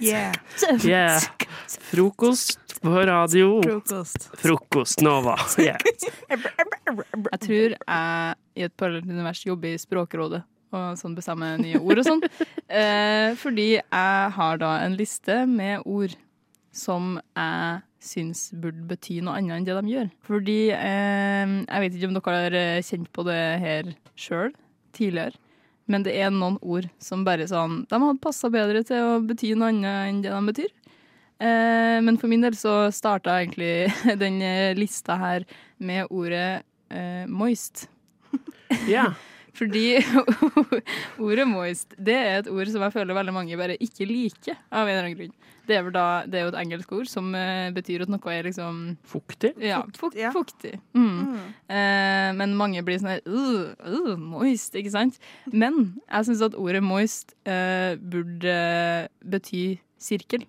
Yeah. Yeah. Frokost på radio. Frokost. Frokost Nova. Yeah. Jeg tror jeg i et parallelt univers jobber i Språkrådet og sånn bestemmer nye ord og sånn. Eh, fordi jeg har da en liste med ord som jeg syns burde bety noe annet enn det de gjør. Fordi eh, jeg vet ikke om dere har eh, kjent på det her sjøl tidligere, men det er noen ord som bare sånn De hadde passa bedre til å bety noe annet enn det de betyr. Eh, men for min del så starta egentlig den eh, lista her med ordet eh, moist. Yeah. Fordi ordet moist, det er et ord som jeg føler veldig mange bare ikke liker, av en eller annen grunn. Det er, vel da, det er jo et engelsk ord som eh, betyr at noe er liksom Fuktig. ja, fuk ja. fuktig. Mm. Eh, men mange blir sånn her «Ugh, ugh, Moist, ikke sant? Men jeg syns at ordet moist eh, burde bety sirkel.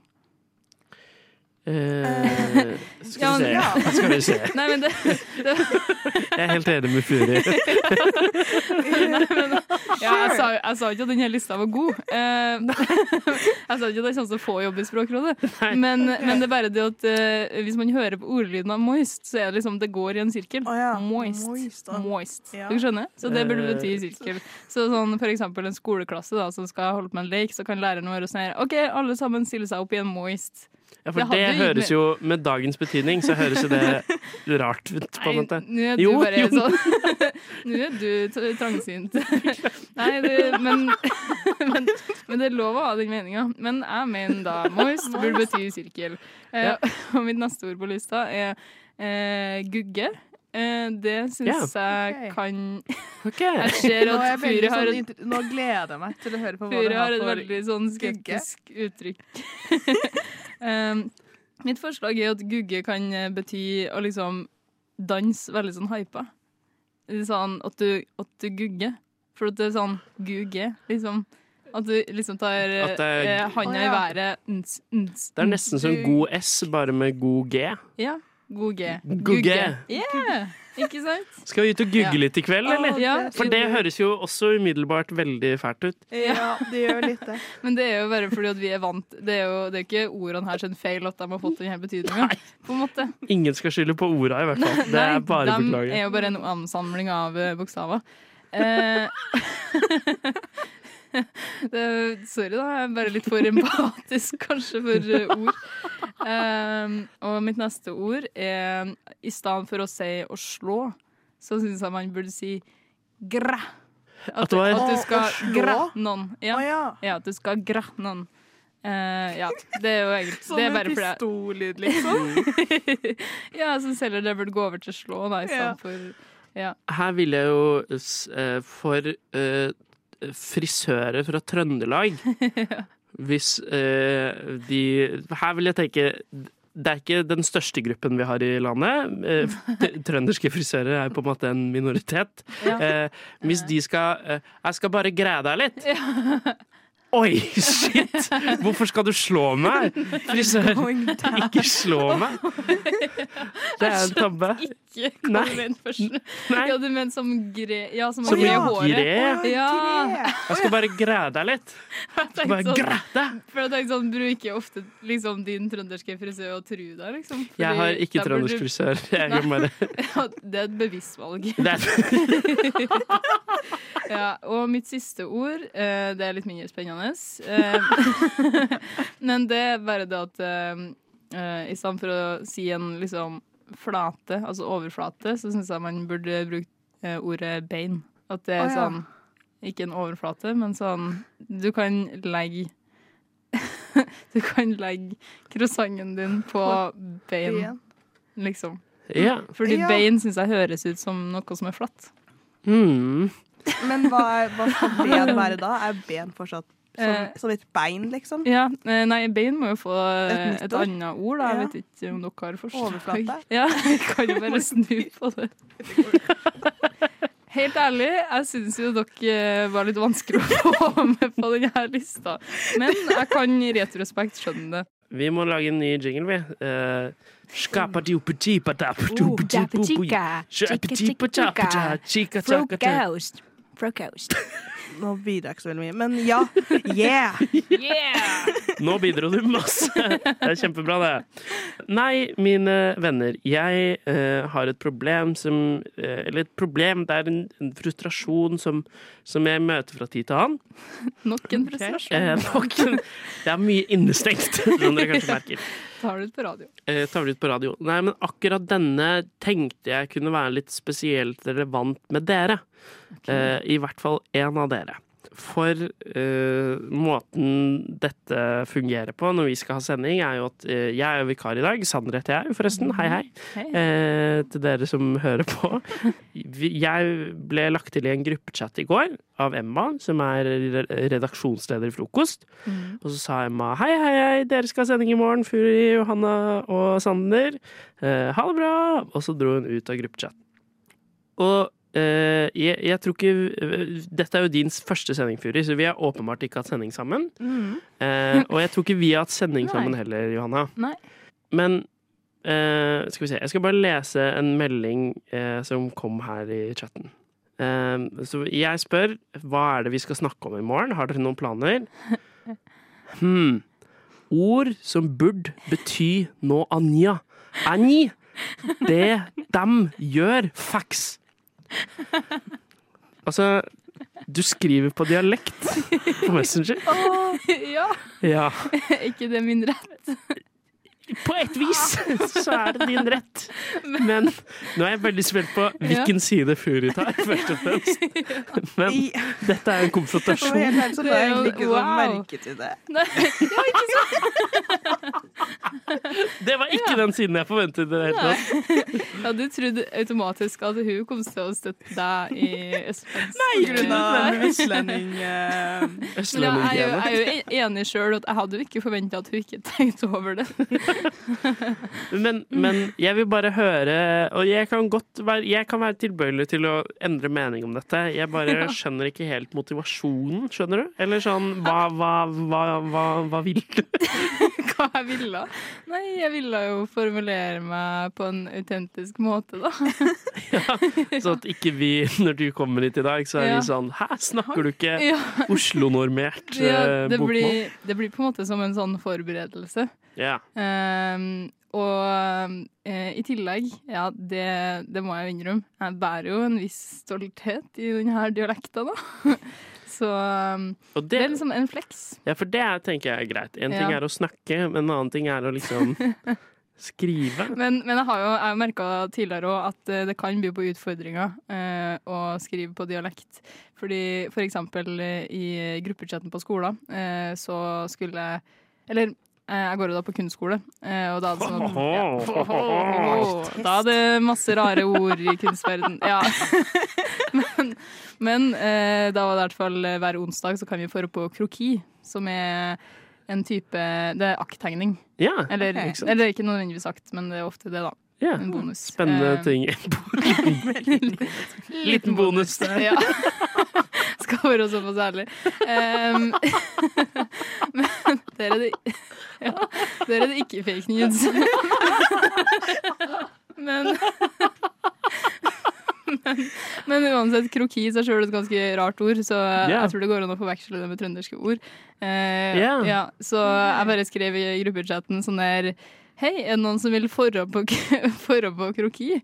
Eh, skal vi Ja, se. Skal vi se. Nei, men det, det Jeg er helt enig med Furi. Ja, jeg sa, jeg sa ikke at denne lista var god. Eh, jeg sa ikke at det er sånn som få jobb i Språkrådet. Men, men det er bare det at eh, hvis man hører på ordlyden av moist, så er det liksom det går i en sirkel. Å ja, Moist. moist, da. moist. Ja. Du skjønner? Så det burde Eh. bety sirkel. Så sånn for eksempel en skoleklasse da, som skal holde på med en lek, så kan læreren være sånn her OK, alle sammen stiller seg opp i en moist. Ja, for Det det, hadde jo gitt høres mer- jo Med dagens betydning så høres jo det rart ut, på en måte. Nei, nå er du Jo, bare jo. sånn Nå er du t- trangsynt. Nei, det, men, men, men det er lov å ha den meninga. Men jeg mener da moist burde bety sirkel. Eh, og mitt neste ord på lista er eh, gugge. Eh, det syns jeg Ok. kan Ok. Jeg ser Nå, er jeg at veldig Furi har sånn et inter- nå gleder jeg meg til å høre på hva du Fyret har har et for veldig sånn gugge. skeptisk uttrykk. um, mitt forslag er at gugge kan eh, bety å liksom danse veldig sånn hypa. Litt Sånn at du, at du gugger. For at det er sånn gugge, liksom. At du liksom tar At det er- eh, handa Å, i ja. været. Ns, ns, Det er nesten som Mm. god S, bare med god G. Ja. God G. Gugge. Yeah. Ikke sant? Skal vi ut Ja. og gugge litt i kveld, eller? Ja, For det høres jo også umiddelbart veldig fælt ut. Ja, det gjør litt det. Men det er jo bare fordi at vi er vant Det er jo det er ikke ordene her sin feil at de har fått denne betydninga, på en måte. Ingen skal skylde på orda, i hvert fall. Det er bare å de beklage. er jo bare en ansamling av eh, bokstaver. Eh, det, sorry, da. Jeg er bare litt for empatisk, kanskje, for eh, ord. Eh, og mitt neste ord er i stedet for å si å slå, så syns jeg man burde si græ. At det var- at Å, du å skal slå? græ noen. Å Ja. ja. ja, at du skal græ noen. Eh, ja, det er jo egentlig Som det er en bare fordi jeg- Sånn pistollyd, liksom. ja, jeg syns heller det burde gå over til slå, da, i Ja. stedet for ja. Her vil jeg jo s- eh, For eh, frisører fra Trøndelag Hvis eh, de Her vil jeg tenke Det er ikke den største gruppen vi har i landet. Eh, t- Trønderske frisører er på en måte en minoritet. Ja. Eh, hvis de skal eh, Jeg skal bare greie deg litt. Oi, shit! Hvorfor skal du slå meg? Frisør, ikke slå meg! Det er en tabbe. ikke Nei. hva du mente først. Nei. Ja, du mente som gre... Ja, som, Som gre i håret. gre. Ja. Grep. Jeg skal bare greie deg litt. Jeg Jeg skal tenkte bare sånn, greie deg. for jeg tenkte sånn, bruker ofte liksom, din trønderske frisør og tru deg, liksom. Fordi Jeg har ikke da burde trøndersk du- frisør. Jeg kan bare Ja, det er et bevisst valg. det er, Ja, og mitt siste ord, eh, det er litt mindre spennende. Eh, men det er bare det at eh, eh, i stedet for å si en liksom flate, altså overflate, så syns jeg man burde brukt eh, ordet bein. At det er Å, ja. sånn Ikke en overflate, men sånn Du kan legge Du kan legge croissanten din på bein, Igjen. liksom. ja. Fordi Ja. bein syns jeg høres ut som noe som er flatt. Mm. Men hva, er- hva skal ben være da? Er ben fortsatt som, Eh. som et bein, liksom? Ja, eh, nei, bein må jo få eh, Et nytt et ord. annet ord, da. Jeg Ja. vet ikke om dere har forslag. Overflate. Ja, vi kan jo bare snu på det. Helt ærlig, jeg syns jo dere eh, var litt vanskelig å få med på denne lista. Men jeg kan i retrospekt skjønne det. Vi må lage en ny jingle, vi. Eh, skapadiopatipatapatopatipopoi. Skapatipatapata, chikachakata. Procost. Nå bidrar jeg ikke så veldig mye, men ja. Yeah! Yeah! Nå bidro du masse! Det er kjempebra, det. Nei, mine venner. Jeg eh, har et problem som eh, Eller et problem, det er en, en frustrasjon som, som jeg møter fra tid til annen. Nok en frustrasjon. Eh, nok en- det er mye innestengt, som dere kanskje merker. Tar du det på radio? Eh, tar det ut på radio. Nei, men akkurat denne tenkte jeg kunne være litt spesielt relevant med dere. Eh, I hvert fall én av dere. For eh, måten dette fungerer på når vi skal ha sending, er jo at eh, jeg er jo vikar i dag. Sander heter jeg, forresten. Hei, hei. Hei. Eh, til dere som hører på. Vi- Jeg ble lagt til i en gruppechat i går av Emma, som er re- redaksjonsleder i Frokost. Og så sa Emma hei, hei, hei, dere skal ha sending i morgen, Furi, Johanna og Sander. Eh, ha det bra! Og så dro hun ut av gruppechat. Og eh, jeg, jeg tror ikke eh, Dette er jo din første sending, Furi, så vi har åpenbart ikke hatt sending sammen. Eh, og jeg tror ikke vi har hatt sending sammen Mm. Nei. heller, Johanna. Nei. Men eh, skal vi se, jeg skal bare lese en melding eh, som kom her i chatten. Eh, så jeg spør hva er det vi skal snakke om i morgen? Har dere noen planer? Hmm. Ord som burde bety nå anja. Anji! Det dem gjør. Fax! Altså, du skriver på dialekt på Messenger. ja, Ja. er ikke det min rett? På et vis så er det din rett. Men nå er jeg veldig spent på hvilken side Furi tar, først og fremst. Men I, dette for å er en være konfrontasjon. helt ærlig, så la jeg egentlig ikke sånn Wow. merke til det. Nei, ja, ikke sant? Det var ikke den siden jeg forventet. i Det hele tatt. Jeg hadde trodd automatisk at hun kom til å støtte deg i Østlands. Nei, På grunn av østlending eh, Men ja, jeg, er jo- Østlendinggreiene. jeg er jo enig sjøl at jeg hadde jo ikke forventa at hun ikke tenkte over det. Men, men jeg vil bare høre Og jeg kan godt være, jeg kan være tilbøyelig til å endre mening om dette. Jeg bare skjønner ikke helt motivasjonen, skjønner du? Eller sånn Hva, hva, hva, hva, hva vil du? Hva jeg ville. Nei, jeg ville jo formulere meg på en autentisk måte, da. Så at ikke vi, når du kommer hit i dag, så er Ja. vi sånn Hæ, snakker du ikke Ja, Oslo-normert ja, eh, det, bokmål? blir, det blir på en måte som en sånn forberedelse. Ja. Ehm, og eh, i tillegg, ja, det, det må jeg jo innrømme, jeg bærer jo en viss stolthet i denne dialekta, da. Så ehm, Og det det, er liksom en flex. ja, for det tenker jeg er greit. En ting Ja. er å snakke, men en annen ting er å liksom skrive. Men, men jeg har jo jeg merka tidligere òg at eh, det kan by på utfordringer eh, å skrive på dialekt. Fordi for eksempel eh, i gruppechatten på skolen eh, så skulle jeg Eller eh, jeg går jo da på kunstskole, eh, og da er det sånn at- Åh, Da er det masse rare ord i kunstverden. Ja. Men, men eh, da var det i hvert fall eh, hver onsdag så kan vi få på kroki, som er en type Det er akttegning. Ja. Eller, liksom Ok. ikke eller ikke nødvendigvis akt, men det er ofte det, da. ja. En bonus. Spennende Eh, ting. Liten bonus der. Ja. Skal være såpass ærlig. Em, men der er det ja, Der er det ikke fake news. men men, men uansett, kroki i seg sjøl er et ganske rart ord, så Ja. jeg tror det går an å forveksle det med trønderske ord. Eh, Ja. ja, så jeg bare skrev i gruppechatten sånn der Hei, er det noen som vil forhånd på, forhånd på kroki?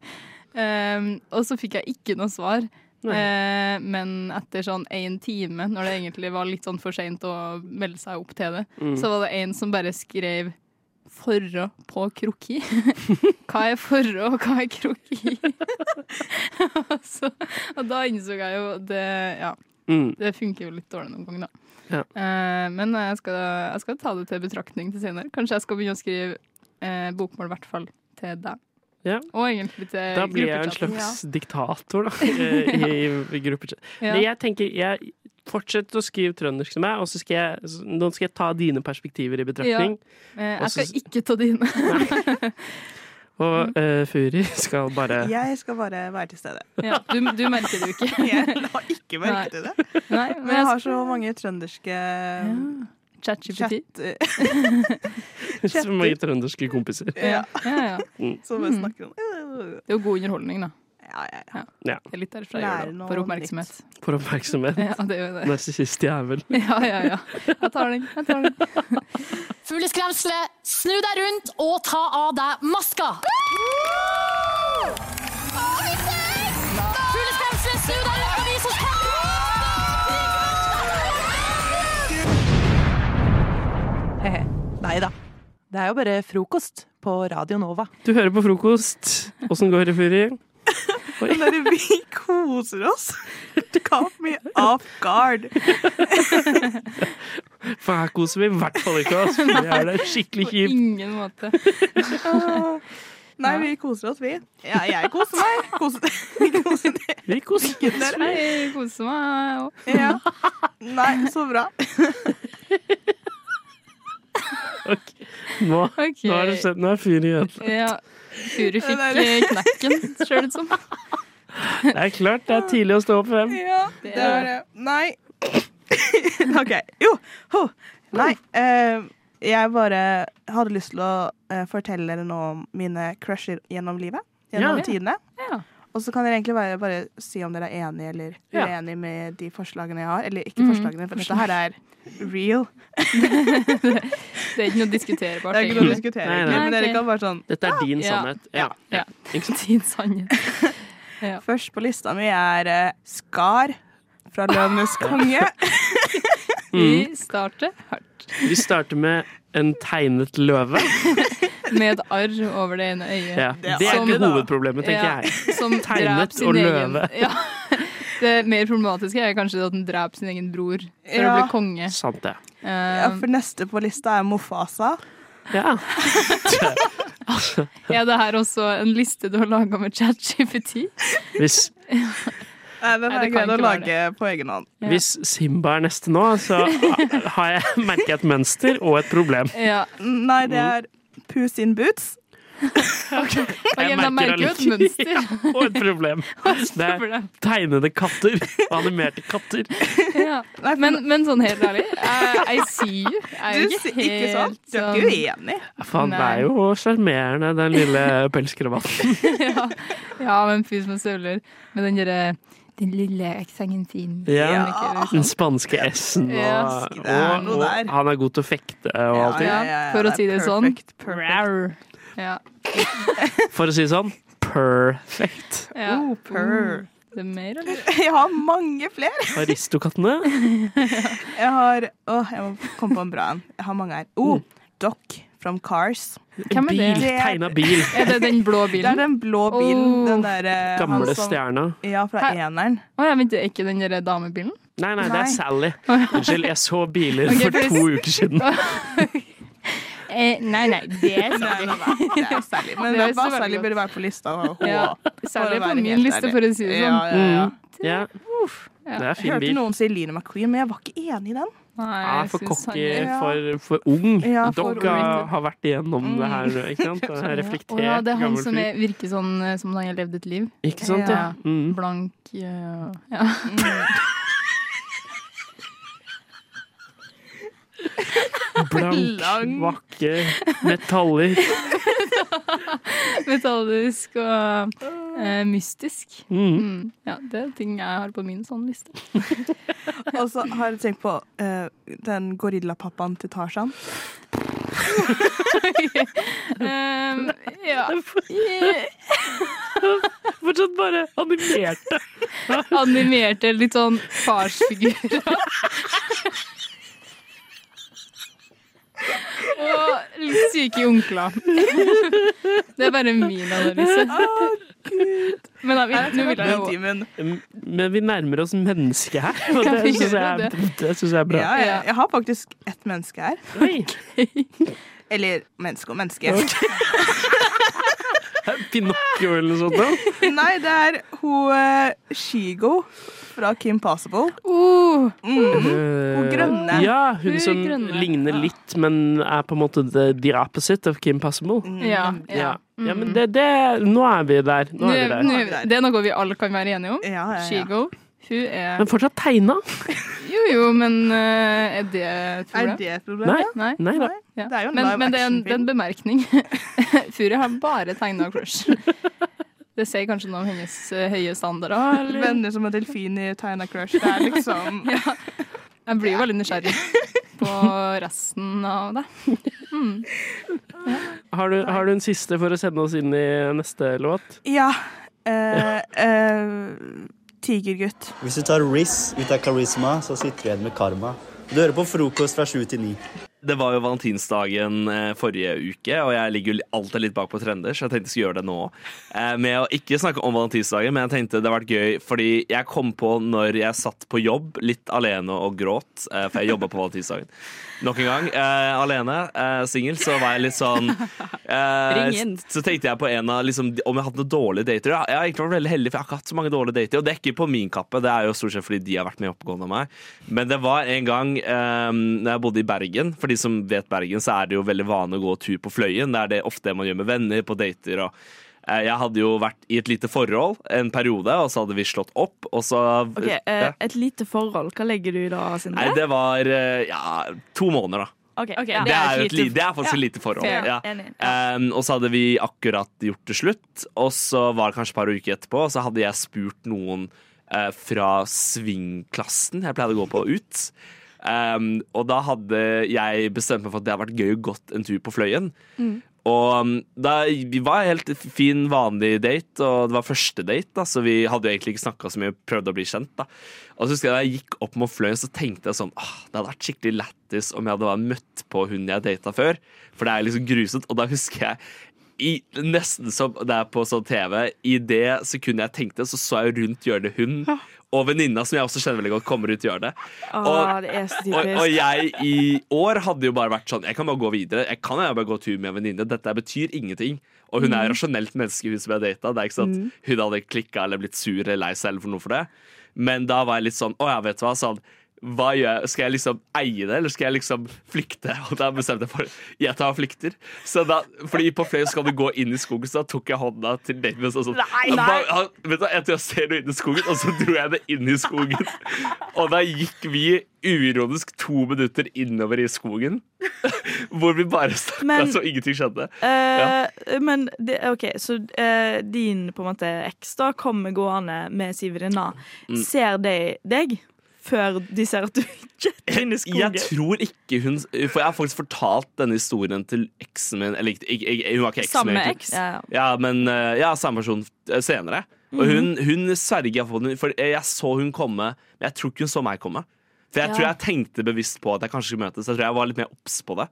Ehm, og så fikk jeg ikke noe svar. Nei. Eh, men etter sånn én time, når det egentlig var litt sånn for seint å melde seg opp til det, Mm. så var det en som bare skrev 'forhå på kroki'. Hva er forhå, og hva er kroki? og, så, og da innså jeg jo det Ja, Mm. det funker jo litt dårlig noen ganger, da. Ja. Eh, men jeg skal, jeg skal ta det til betraktning til senere. Kanskje jeg skal begynne å skrive eh, bokmål, i hvert fall til deg. Ja. Og egentlig til Da blir jeg en gruppechatten. slags diktator, da, i, i, i gruppechatten. Ja. Men jeg tenker, jeg fortsetter å skrive trøndersk som meg, og så skal jeg, nå skal jeg ta dine perspektiver i betraktning. Eh, Og jeg så- skal ikke ta dine. Og Mm. eh, Furi skal bare Jeg skal bare være til stede. ja, du, du merker det jo ikke. Jeg la ikke Nei. merke til det. Nei, Men jeg har så mange trønderske eh, ChatGPT. chat... eh, så mange trønderske kompiser. Ja, Mm. Ja, ja. som bare snakker om Det er jo god underholdning, da. ja, ja, ja. Det er litt derfra jeg gjør Lære det. noe For oppmerksomhet. For oppmerksomhet. Ja, det er jo det. Narsissist jævel. Ja, ja, ja. Jeg tar den. Jeg tar den. Fugleskremselet, snu deg rundt og ta av deg maska! Fugleskremselet, snu deg rundt og vis oss hendene! Nei da. Det er jo bare frokost på Radio Nova. Du hører på frokost. Åssen går det, Fyri? Bare vi koser oss. Caught me off guard. For her koser vi i hvert fall ikke oss. for Det er det skikkelig På kjipt. ingen måte. Nei, vi koser oss, vi. Ja, jeg koser meg. Koser, koser dere. Vi koser oss. Jeg koser meg òg. Ja. Nei, så bra. Ok. Nå, Ok. nå er det sett. Nå er Fyri igjen. Ja. Guri fikk eh, knekken, ser det ut som. Det er klart, det er tidlig å stå opp for fem. Ja, det var det. Nei. OK. Jo. Ho. Nei. eh, jeg bare hadde lyst til å eh, fortelle dere nå om mine crusher gjennom livet. Gjennom Ja. tidene. Ja. Og så kan dere egentlig bare, bare si om dere er enige eller Ja. uenige med de forslagene jeg har. Eller ikke forslagene, for dette her er real. Det er ikke noe diskuterbart. Det er ikke noe å egentlig. diskutere. Nei, nei. egentlig, Men Nei, ok. dere kan bare sånn Dette er din Ja. sannhet. Ja. Ja. Ikke sant? Din sannhet. Først på lista mi er eh, Skar fra Løvenes konge. Mm. Vi starter hardt. Vi starter med en tegnet løve. Med et arr over det ene øyet. Ja. Det er Det er artig, ikke da. hovedproblemet, tenker Ja, jeg. Som Tegnet drep sin og egen- løve. Ja. Det mer problematiske er kanskje at den dreper sin egen bror for å Ja. bli konge. Sant det. Ja, Eh, for neste på lista er Mofasa. Ja. Eh, er det her også en liste du har laga med ChatGPT? Hvis, Nei, den har Nei, det jeg kan greid å ikke være lage på egen hånd. Ja. hvis Simba er neste nå, så har jeg merket et mønster og et problem. Ja. Nei, det Mm. er Puss in boots. Ok, men da merker du et allike- mønster. Ja, og et problem. Det er problem. tegnede katter. Animerte katter. Ja. Nei, for Men, men sånn helt ærlig, I, I see you. Jeg er Du jo sier ikke sånn. helt Du er ikke uenig. Ja, Faen, det Nei. er jo sjarmerende, den lille pelskrabaten. ja. ja, men fy som en søler. Med den derre Den lille eksengen fin. Ja. Ja. Den spanske S-en Ja, og, det er og, noe og der. han er god til å fekte og alt det. Ja, ja, ja, for å det er si det sånn. perfect, perfect. Ja. For å si det sånn perfect. ja. Mm. Oh, purr. Det er mer, eller? Jeg har mange flere. Aristokattene. Jeg har Åh, jeg må komme på en bra en. Jeg har mange her. Mm. Oh, Doc from Cars. Hvem er det? Bil. Tegna bil. Er det den blå Det er bilen? den blå bilen. Oh. Den derre Gamle stjerna. Ja, fra Hæ? eneren. Å ja, vent, det er ikke den derre damebilen? Nei, nei, det Nei. er Sally. Unnskyld, jeg så biler Ok, for for- to uker siden. Eh, nei, nei, det er Nei, nei, nei, det er Sally. Men Det er så hva veldig Sally godt. burde være på lista. da. Hå. Ja, For Særlig å på være min helt liste, ærlig. for å si det Ja, sånn. ja, ja. Ja, det er Jeg Mm. fin hørte bil. noen si Line McQueen, men jeg var ikke enig i den. Nei, Ja, Ah, for eh, synes han cocky, er- Ja. for, for ung. Ja, for Dogga ung. har vært igjennom det her, nå, ikke sant? Det Å er Reflektert, ja, det er han gammel som fyr. er, virker sånn eh, som om han har levd et liv. Ikke sant, ja. Ja. Mm. Blank eh, ja. Blank, Lang. vakker, metaller. Metallisk og eh, mystisk. Mm. Mm. Ja, det er ting jeg har på min sånn liste. Og så har jeg tenkt på eh, den gorillapappaen til Tarzan. Ehm, ja. Fortsatt bare animerte. Animerte, litt sånn farsfigurer. Og litt syke onkler. Det er bare min Ah, analyse. Men da, vil- nå vil jeg jo Timen. Men vi nærmer oss mennesket her, og Ja, vi det syns gjør jo jeg, det synes jeg er bra. Ja, jeg, jeg har faktisk ett menneske her. Oi, Eller menneske og menneske. Pinocchio eller noe sånt. da. Nei, det er hun eh, Shigo fra Kim Possible. oh, Mm. Hun grønne. Eh, Ja, hun Hun som grønne. ligner litt, men er på en måte the, the opposite of Kim Possible. ja, Mm. ja. Ja. ja, men det, det Nå er vi der. Nå Nå, er vi nå, der. er vi der. det er noe vi alle kan være enige om. Ja, ja, ja. Shigo. Hun er Men fortsatt tegna. Jo, jo, men eh, er det Er et problem? det et problem? Nei. ja? Nei. Nei da. Nei. Ja. Det er jo en men, live men det er en, action-film. det er en bemerkning. Furi har bare tegna crush. Det sier kanskje noe om hennes eh, høye standarder. Eller? Venner som en delfin i Tina Crush. Det er liksom jeg blir jo veldig nysgjerrig på resten av det. Har du, har du en siste for å sende oss inn i neste låt? Ja. eh, eh, tigergutt. Hvis du tar Riz ut av karisma, så sitter du igjen med karma. Du hører på frokost fra sju til ni. Det var jo valentinsdagen eh, forrige uke, og jeg ligger jo li- alltid litt bak på trender, så jeg tenkte jeg skulle gjøre det nå. Eh, Med å ikke snakke om valentinsdagen, men jeg tenkte det hadde vært gøy, fordi jeg kom på når jeg satt på jobb, litt alene og gråt, eh, for jeg jobba på valentinsdagen. Nok en gang. Eh, alene, eh, singel, så var jeg litt sånn eh, Ring inn. Så tenkte jeg på en av liksom, om jeg har hatt noen dårlige dater. Ja, jeg har egentlig vært veldig heldig, for jeg har ikke hatt så mange dårlige dater. Og det er ikke på min kappe, det er jo stort sett fordi de har vært mer oppegående enn meg. Men det var en gang um, når jeg bodde i Bergen. For de som vet Bergen, så er det jo veldig vanlig å gå tur på Fløyen. Det er det ofte man gjør med venner på dater. og eh, jeg hadde jo vært i et lite forhold en periode, og så hadde vi slått opp. Og så Ok, eh, Ja. Et lite forhold. Hva legger du i da, Nei, Sindre? det var eh, ja, to måneder, da. Ok, Ja, ja. det, er et jo et lite- lite, det er faktisk et lite forhold. Fair. Ja. Enig. Um, og så hadde vi akkurat gjort det slutt, og så var det kanskje et par uker etterpå, og så hadde jeg spurt noen eh, fra svingklassen jeg pleide å gå på, ut. Um, og da hadde jeg bestemt meg for at det hadde vært gøy og gått en tur på Fløyen. Og um, da vi var en helt fin, vanlig date, og det var første date, da, så vi hadde jo egentlig ikke snakka så mye, prøvde å bli kjent. da. Og så husker jeg da jeg gikk opp mot Fløyen, så tenkte jeg sånn ah, Det hadde vært skikkelig lættis om jeg hadde bare møtt på hun jeg data før, for det er liksom grusomt. Og da husker jeg i, nesten som det er på sånn TV, i det sekundet jeg tenkte, så så jeg rundt hjørnet hun og venninna, som jeg også kjenner veldig godt, kommer ut hjørnet. Åh, det er så Og, og typisk. jeg i år hadde jo bare vært sånn Jeg kan bare gå videre. Jeg kan jo bare gå tur med en venninne. Dette betyr ingenting. Og hun er et rasjonelt menneske, hun som jeg data. Det er ikke sånn at hun hadde klikka eller blitt sur eller lei seg eller for noe for det. Men da var jeg litt sånn Å ja, vet du hva. Sånn, hva gjør jeg? Skal jeg liksom eie det, eller skal jeg liksom flykte? Og da bestemte jeg for Jeg tar og flykter. Så da, fordi på Fløy skal du gå inn i skogen, så da tok jeg hånda til Damien og sa sånn Nei, «Ja, nei. hva- ja, Vet du, hva, jeg tror jeg ser noe inn i skogen, og så dro jeg det inn i skogen. Og da gikk vi uironisk to minutter innover i skogen, hvor vi bare snakka Men- så ingenting skjedde. Eh, Men det, OK, så eh, din på en måte eks da kommer gående med si venninne. Mm. Ser de deg før de ser at du ikke er inne i skogen? Jeg tror ikke hun For jeg har faktisk fortalt denne historien til eksen min. Eller ikke, ikke- ikke- hun var ikke eksen min. Samme egentlig. eks. ja, ja. Ja, men eh, ja, samme person eh, senere. Og hun, hun sverger jeg på den, for jeg så hun komme, men jeg tror ikke hun så meg komme. For jeg tror jeg tenkte bevisst på at jeg kanskje skulle møtes. Jeg tror jeg var litt mer obs på det.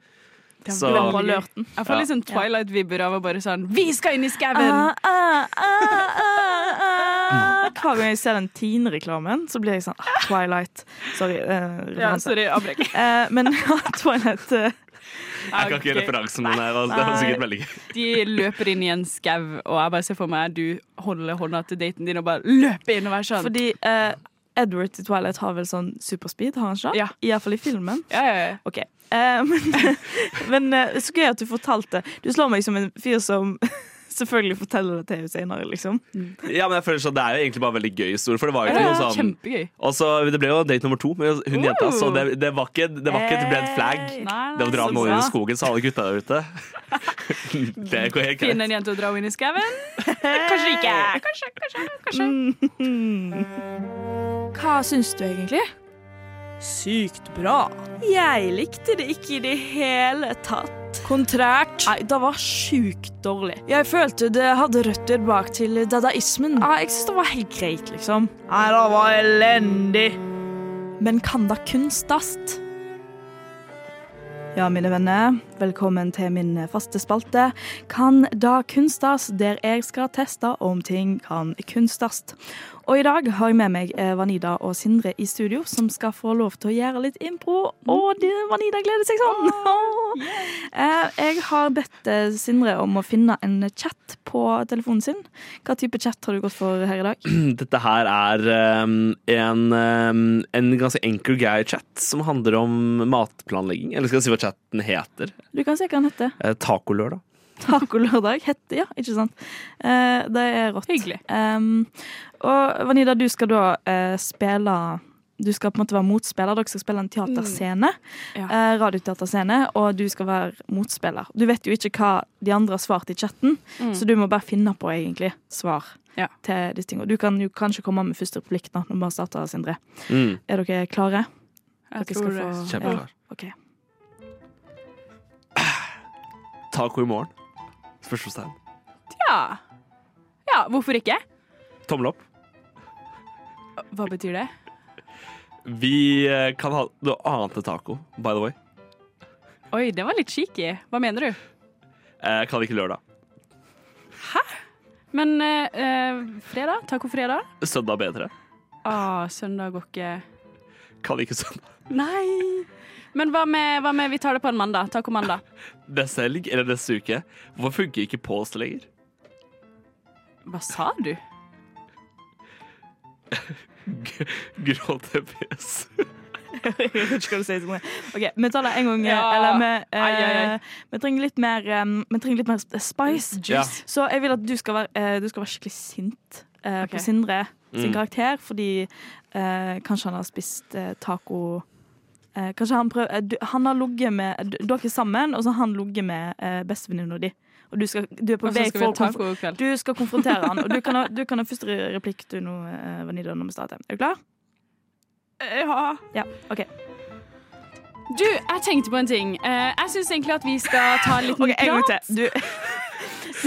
Så, Du var på alerten. Jeg får Ja. liksom Twilight-vibber av å bare sånn Vi skal inn i skauen! Ah, ah, ah, ah, Mm. ah. Hver gang jeg ser den Tine-reklamen, så blir jeg sånn ah, Twilight. Sorry. eh, Ja, referanse. sorry, avbrekk. Eh, men ja, Twilight eh, jeg kan ikke Ok. referansen min her. Det var sikkert veldig gøy. De løper inn i en skau, og jeg bare ser for meg du holder hånda til daten din og bare løper inn og er sånn. Fordi eh, Edward i Twilight har vel sånn superspeed, har han ikke? det? Ja. I hvert fall i filmen. ja, ja, ja. OK. Eh, men men eh, så gøy at du fortalte. Du slår meg som en fyr som selvfølgelig forteller det til henne senere, liksom. Ja, men jeg føler sånn, Det er jo egentlig bare veldig gøy historie, for det var jo Ja, ikke ja, noe sånn Kjempegøy. Og så Det ble jo date nummer to med hun jenta, så det, det var ikke det var ikke et red flag. Hey. Nei, Det å dra så noen inn i bra. skogen, så alle gutta der ute Det går helt greit. Finne en jente og dra henne inn i skauen? Kanskje ikke. Kanskje, kanskje, kanskje. Hva syns du egentlig? Sykt bra. Jeg likte det ikke i det hele tatt. Kontrært. Nei, det var sjukt dårlig. Jeg følte det hadde røtter bak til dadaismen. Ja, jeg syns det var helt greit, liksom. Nei, det var elendig. Men kan da kunstast? Ja, mine venner, velkommen til min faste spalte Kan da kunstast, der jeg skal teste om ting kan kunstast. Og i dag har jeg med meg eh, Vanida og Sindre i studio, som skal få lov til å gjøre litt impro. Og de, Vanida gleder seg sånn! Eh, Jeg har bedt eh, Sindre om å finne en chat på telefonen sin. Hva type chat har du gått for her i dag? Dette her er ehm, en, ehm, en ganske enkel guy chat som handler om matplanlegging. Eller skal jeg si hva chatten heter? Du kan se hva den heter. Eh, Tacolørdag. Tacolørdag heter ja, ikke sant? Eh, Det er rått. Hyggelig. Ehm, og Vanida, du skal da eh, spille du skal på en måte være motspiller. Dere skal spille en teaterscene. Mm. Ja. eh, radioteaterscene, og du skal være motspiller. Du vet jo ikke hva de andre har svart i chatten, så du må bare finne på egentlig svar Mm. Ja. til disse tingene. Du kan jo kanskje komme med første replikk nå, når vi bare starter, Sindre. Mm. Er dere klare? Jeg dere skal tror det. få- Kjempeklar. Ja, ok. Taco i morgen? Spørsmålstegn. Ja. ja, hvorfor ikke? Tommel opp. Hva betyr det? Vi eh, kan ha noe annet enn taco, by the way. Oi, det var litt cheeky. Hva mener du? Eh, kan ikke lørdag. Men eh, eh, fredag? Tacofredag? Søndag bedre. Ah, søndag går ikke Kan ikke søndag. Nei. Men hva med, hva med vi tar det på en mandag? Tacomandag. Neste helg eller neste uke. Hvorfor funker ikke pås lenger? Hva sa du? G- Grå TPS. Jeg vet ikke hva du sier Sindre. Ok, vi tar det en gang. eh, Ja. Eller vi, eh, Ai, ai, ai. vi trenger litt mer, eh, vi trenger litt mer spice. Ja. Så jeg vil at du skal være, eh, du skal være skikkelig sint eh, Ok. på Sindre sin Mm. karakter, fordi eh, kanskje han har spist eh, taco eh, Kanskje han prøver eh, du, Han har ligget med d- Dere er sammen, og så har han ligget med eh, bestevenninna di. Og du, skal, du er på Og så vei skal vi for ha å konf tacokveld. du skal konfrontere han, og du kan ha, du kan ha første replikk til noe, eh, Vanilla, når vi starter. Er du klar? Ja. Eh, Ja, OK. Du, jeg tenkte på en ting. Eh, jeg syns egentlig at vi skal ta en liten Ok, en gang prat. til. Du, du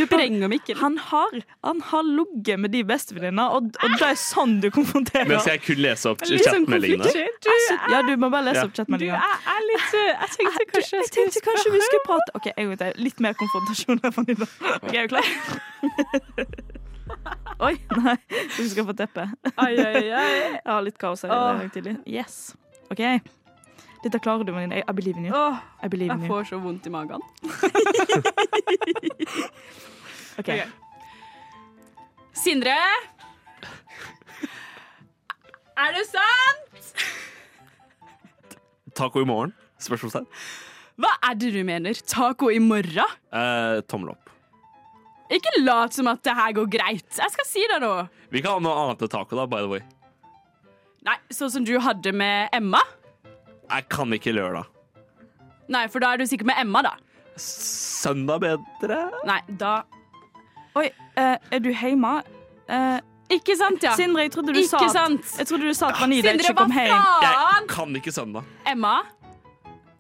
Spreng om ikke. Han har, han har ligget med de bestevenninna, og, og det er sånn du konfronterer. Men skal jeg kun lese opp Litt sånn chatmeldingene? konfliktsky. Altså, ja, du må bare lese Ja. opp Du, chatmeldinga. jeg er litt eh, Jeg tenkte kanskje Jeg tenkte kanskje vi skulle prate Ok, en gang til. Litt mer konfrontasjon her Vanilla. Ok, er du klar? Oi, nei. Du skal få teppe. Ai, ai, ai. Jeg har litt kaos her. i Åh. dag tidlig. Yes. OK. Dette klarer du, Vanilla. I believe in you. Åh, I believe in jeg you. får så vondt i magen. Ok. ok. Sindre? Er det sant? Taco i morgen? Spørsmålstegn. Hva er det du mener? Taco i morgen? Eh, tommel opp. Ikke lat som at det her går greit. Jeg skal si det nå. Vi kan ha noe annet enn taco, da, by the way. Nei, sånn som du hadde med Emma? Jeg kan ikke lørdag. Nei, for da er du sikkert med Emma, da. Søndag bedre? Nei, da Oi, eh, er du hjemme? Eh, Ikke sant, ja. Sindre, jeg trodde du Ikke sa at- sant? Jeg trodde du sa at Vanida Sindre, ikke hva kom hjem. Jeg faen? kan ikke søndag. Emma?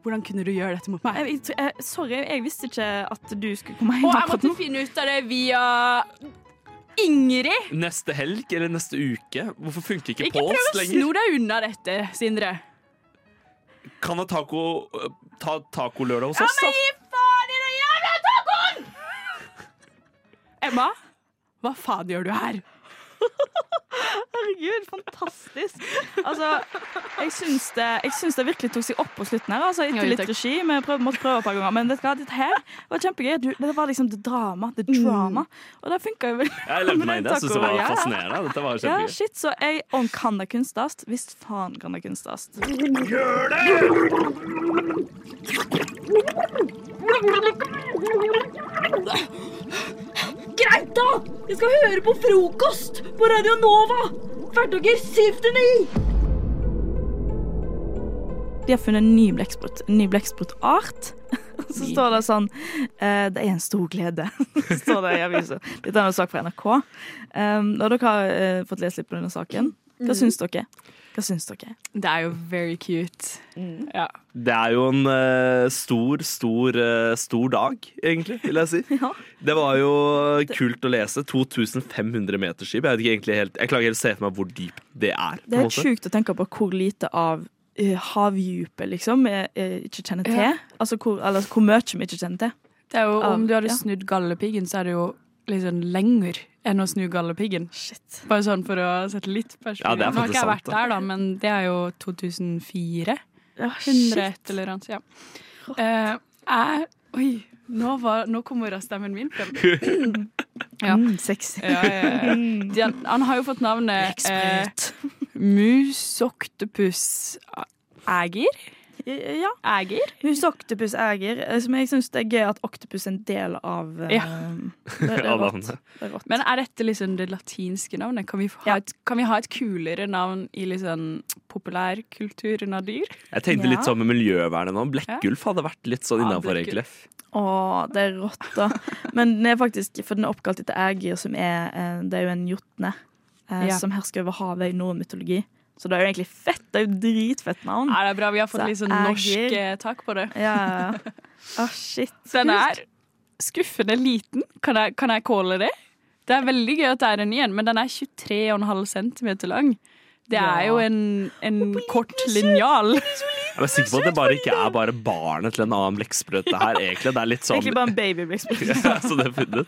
Hvordan kunne du gjøre dette mot meg? Jeg, jeg, tro- jeg, sorry, jeg visste ikke at du skulle komme hjem Og jeg akkurat måtte nå. finne ut av det via Ingrid. Neste helg eller neste uke? Hvorfor funker ikke, Ikke prøv pås liksom. å lenger? sno deg unna dette, Sindre. Kan ha taco eh, Ta tacolørdag hos oss, da? Gi faen i den jævla tacoen! Emma, hva faen gjør du her? Herregud, fantastisk. Altså, jeg syns, det, jeg syns det virkelig tok seg opp på slutten her. Altså, Ja, etter jo, litt takk. regi, vi prøv, måtte prøve et par ganger. Men vet du hva, dette her var kjempegøy. Du- Det var liksom det drama. Det Mm. drama. Og det funka jo veldig Jeg levde meg inn i det. Jeg synes det var Ja. fascinerende. Dette var Ja, kjempegøy. shit, så jeg Om kan det kunstast? Visst faen kan det kunstast. Gjør det! Greit, da! Vi skal høre på frokost på Radio Nova! Hverdager 7 til 9! De har funnet en ny blekksprut. En ny blekksprutart. Og så står det sånn eh, Det er en stor glede, står det i avisa. Dette er en sak fra NRK. Um, og dere har eh, fått lese litt på denne saken. Hva syns dere? Hva syns dere? Det er jo very cute. Ja. Det er jo en eh, stor, stor, eh, stor dag, egentlig, vil jeg si. Ja. Det var jo kult å lese. 2500 meter skip. Jeg vet ikke egentlig helt Jeg klarer ikke helt å se for meg hvor dypt det er. på Det er en måte. helt sjukt å tenke på hvor lite av eh, havdypet liksom jeg, jeg ikke kjenner til. Altså hvor, eller hvor mye vi ikke kjenner til. Det er jo, Av- om du hadde ja. snudd gallepiggen, så er det jo liksom lenger enn å snu gallepiggen. Shit. Bare sånn for å sette litt perspektiv. Ja, det er Nå har faktisk ikke jeg sant, vært da. der, da, men det er jo 2004. Ja, 100 shit. et eller annet. Ja. Eh, jeg Oi, nå, var, nå kommer stemmen min frem. Ja. Mm, sexy. Ja, ja, ja. De, han, han har jo fått navnet eh, Blekksprut. Musoktopus Ægir. Ja. Eier? Husk Octopus Eier, eh, som jeg syns det er gøy at Octopus er en del av. eh, Det, det er Alle rått. andre. Det er rått. Men er dette liksom det latinske navnet? Kan vi, få ha, et, kan vi ha et kulere navn i liksom populærkulturen av dyr? Jeg tenkte litt Ja. sånn med miljøvernet nå. Blekkgulf hadde vært litt sånn Ja, innafor, blekkgulf. egentlig. Å, det er rått, da. Men den er faktisk, for den er oppkalt etter Ægir, som er eh, Det er jo en jotne eh, Ja. som hersker over havet i norrøn mytologi. Så det er jo egentlig fett. Det er jo dritfett navn. Er det bra vi har fått Så litt sånn eier. norsk eh, tak på det? Ja, ja, ja. Å, shit. Den Kult. er skuffende liten. Kan jeg, kan jeg calle det? Det er veldig gøy at det er en igjen, men den er 23,5 cm lang. Det er jo en, en kort linjal. Jeg er sikker på at det bare ikke er bare barnet til en annen blekksprøyte her, egentlig. Det er litt sånn Egentlig bare en babyblekksprutt. Så det er funnet.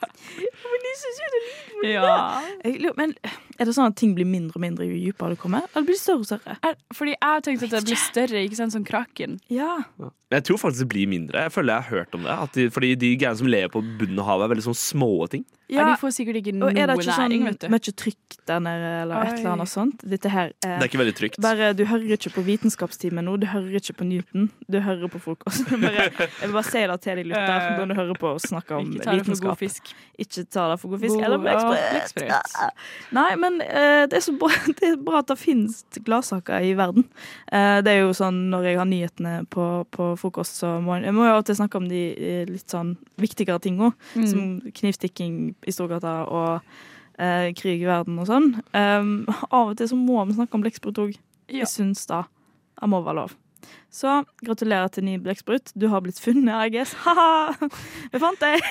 Ja. Jeg lurer- Men er det sånn at ting blir mindre og mindre jo dypere du kommer? Eller blir det større og større? Er, fordi jeg har tenkt at det blir større, ikke sant, som kraken. Ja. Men Jeg tror faktisk det blir mindre. Jeg føler jeg har hørt om det. At de, fordi de greiene som lever på bunnen av havet, er veldig sånn små ting. Ja. ja. De får sikkert ikke noe Og er det næring, ikke sånn vet du. mye trykk der nede, eller et eller annet sånt? Dette her Det er er ikke veldig trygt. Bare, du hører ikke på Vitenskapstimen nå, du hører ikke på Newton. Du hører på frokost. Bare, jeg vil bare si det til deg, lytter, Eh, når du hører på oss snakke om Ikke ta det for god vitenskap. fisk. Ikke ta det for god fisk. God- Eller ja, blekksprøyt. blekksprøyt. Ah. Nei, men eh, det, er så bra, det er bra at det finnes gladsaker i verden. Eh, det er jo sånn når jeg har nyhetene på, på frokost, så må jeg, jeg må jo av og til snakke om de eh, litt sånn viktigere tinga. Mm. Som knivstikking i Storgata og eh, krig i verden og sånn. Um, av og til så må vi snakke om blekksprut òg. Ja. Jeg syns da det må være lov. Så gratulerer til ny blekksprut. Du har blitt funnet, I guess. Ha-ha! Vi fant deg!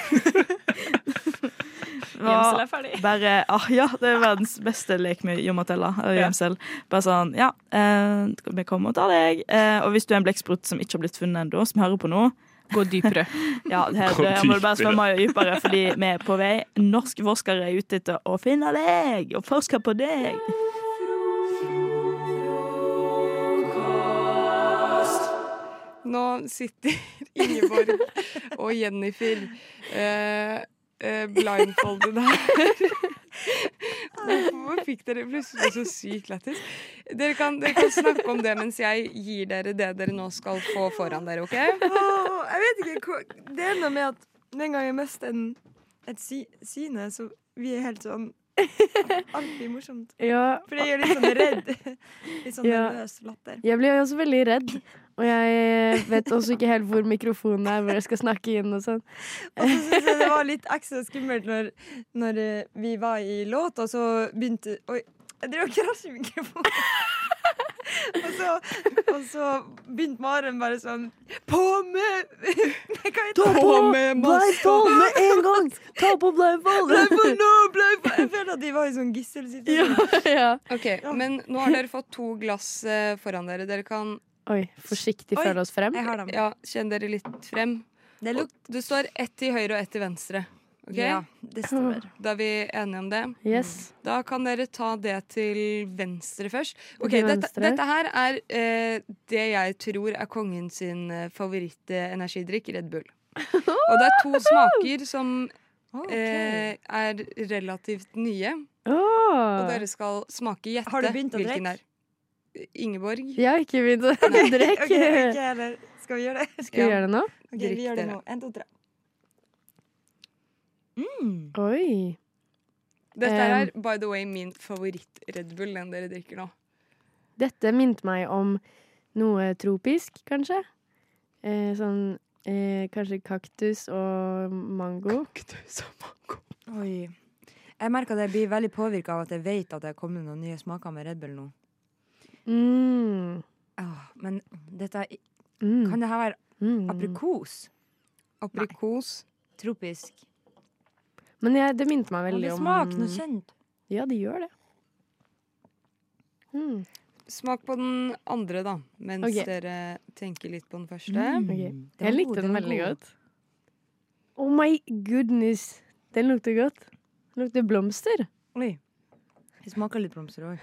Gjemsel er ferdig. Bare, ah, ja, det er verdens beste lek med Jomatella og gjemsel. Bare sånn, ja, eh, vi kommer og tar deg. Eh, og hvis du er en blekksprut som ikke har blitt funnet ennå, som hører på nå, Gå dypere. ja, her, Gå her må du bare dypere. svømme dypere, fordi vi er på vei. Norske forskere er ute etter å finne deg og forske på deg. Nå sitter Ingeborg og Jennifer eh, eh, blindfoldet her. Hvorfor fikk dere plutselig så sykt lættis? Dere, kan- dere kan snakke om det mens jeg gir dere det dere nå skal få foran dere, OK? Åh, jeg vet ikke hva Det er noe med at den gang jeg mister en, et sy syne, så vi er helt sånn Alltid morsomt. Ja, For det gjør litt sånn redd. Litt sånn Ja. nervøs latter. jeg blir også veldig redd. Og jeg vet også ikke helt hvor mikrofonen er, hvor jeg skal snakke inn og sånn. Og så syns jeg det var litt ekstra skummelt når, når eh, vi var i låt, og så begynte Oi, jeg drev og krasja i mikrofonen. og, så, og så begynte Maren bare sånn På med Nei, hva heter det? med Blindfold med en gang! Ta på Blei blindfold! på nå, blei på Jeg føler at de var i sånn gisselsituasjon. ja. OK, men nå har dere fått to glass eh, foran dere. Dere kan Oi, forsiktig Oi. føle oss frem. Jeg har dem. ja, kjenne dere litt frem. Det Og det står ett til høyre og ett til venstre. OK? Ja, det stemmer. Da er vi enige om det. Yes. Da kan dere ta det til venstre først. Ok, Til dette, venstre. dette her er eh, det jeg tror er kongen sin eh, favorittenergidrikk, Red Bull. Og det er to smaker som eh, er relativt nye, og Åh. dere skal smake gjette Har du begynt å hvilken drikke? er. Ingeborg, Jeg har ikke begynt å Ok, drikke. ok, eller Skal vi gjøre det? Skal vi Ja. gjøre det nå? Ok, vi Drikk gjør det dere. nå. En, to, tre. Oi. dette Em. er by the way min favoritt-Red Bull, den dere drikker nå. Dette minte meg om noe tropisk, kanskje. Eh, sånn eh, kanskje kaktus og mango. Oi. Jeg merker at jeg blir veldig påvirka av at jeg vet at det er kommet noen nye smaker med Red Bull nå. Mm. Åh, men dette er- Mm. Kan det her være Mm. aprikos? Aprikos. Tropisk. Men jeg, det minte meg Har veldig det om smak noe kjent? Ja, det gjør det. Mm. Smak på den andre, da, mens Ok. dere tenker litt på den første. ok. var Jeg god, likte den var veldig god. godt. Oh my goodness! Den lukter godt. Den lukter blomster. Oi. Det smaker litt blomster òg.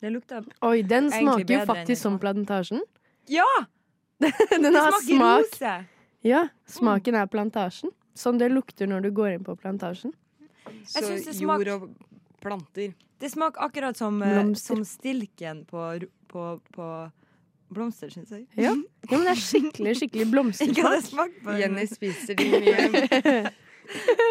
Det lukter Oi, den Egentlig smaker jo bedre enn jeg faktisk som smakte. plantasjen. Ja! den Det har smaker smak. rose! Ja, smaken Hmm. er plantasjen. Sånn det lukter når du går inn på plantasjen. Så synes det smak- jord og planter. Det smaker akkurat som, eh, Blomster. som stilken på, ro- på, på blomster, syns jeg. Ja. ja, men det er skikkelig, skikkelig blomstersmak. Ikke hadde smakt på det. Jenny spiser de mye.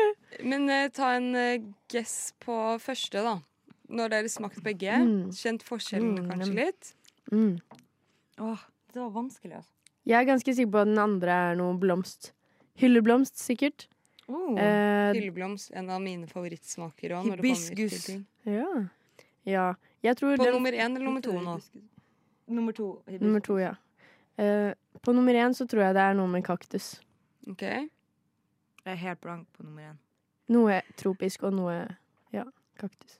Men eh, ta en eh, guess på første, da. Når dere smakte begge. Mm. Kjent forskjellen Mm, kanskje nem. litt. Mm. Åh, det var vanskelig, altså. Jeg er ganske sikker på at den andre er noe blomst. Hylleblomst, sikkert. Eh, Hylleblomst, en av mine favorittsmaker òg. Hibiskus. ja. ja. Jeg tror På den- nummer én eller nummer to nå? Nummer to. hibiskus. Nummer to, ja. Eh, på nummer én så tror jeg det er noe med kaktus. Ok. Jeg er helt blank på nummer én. Noe tropisk og noe ja, kaktus.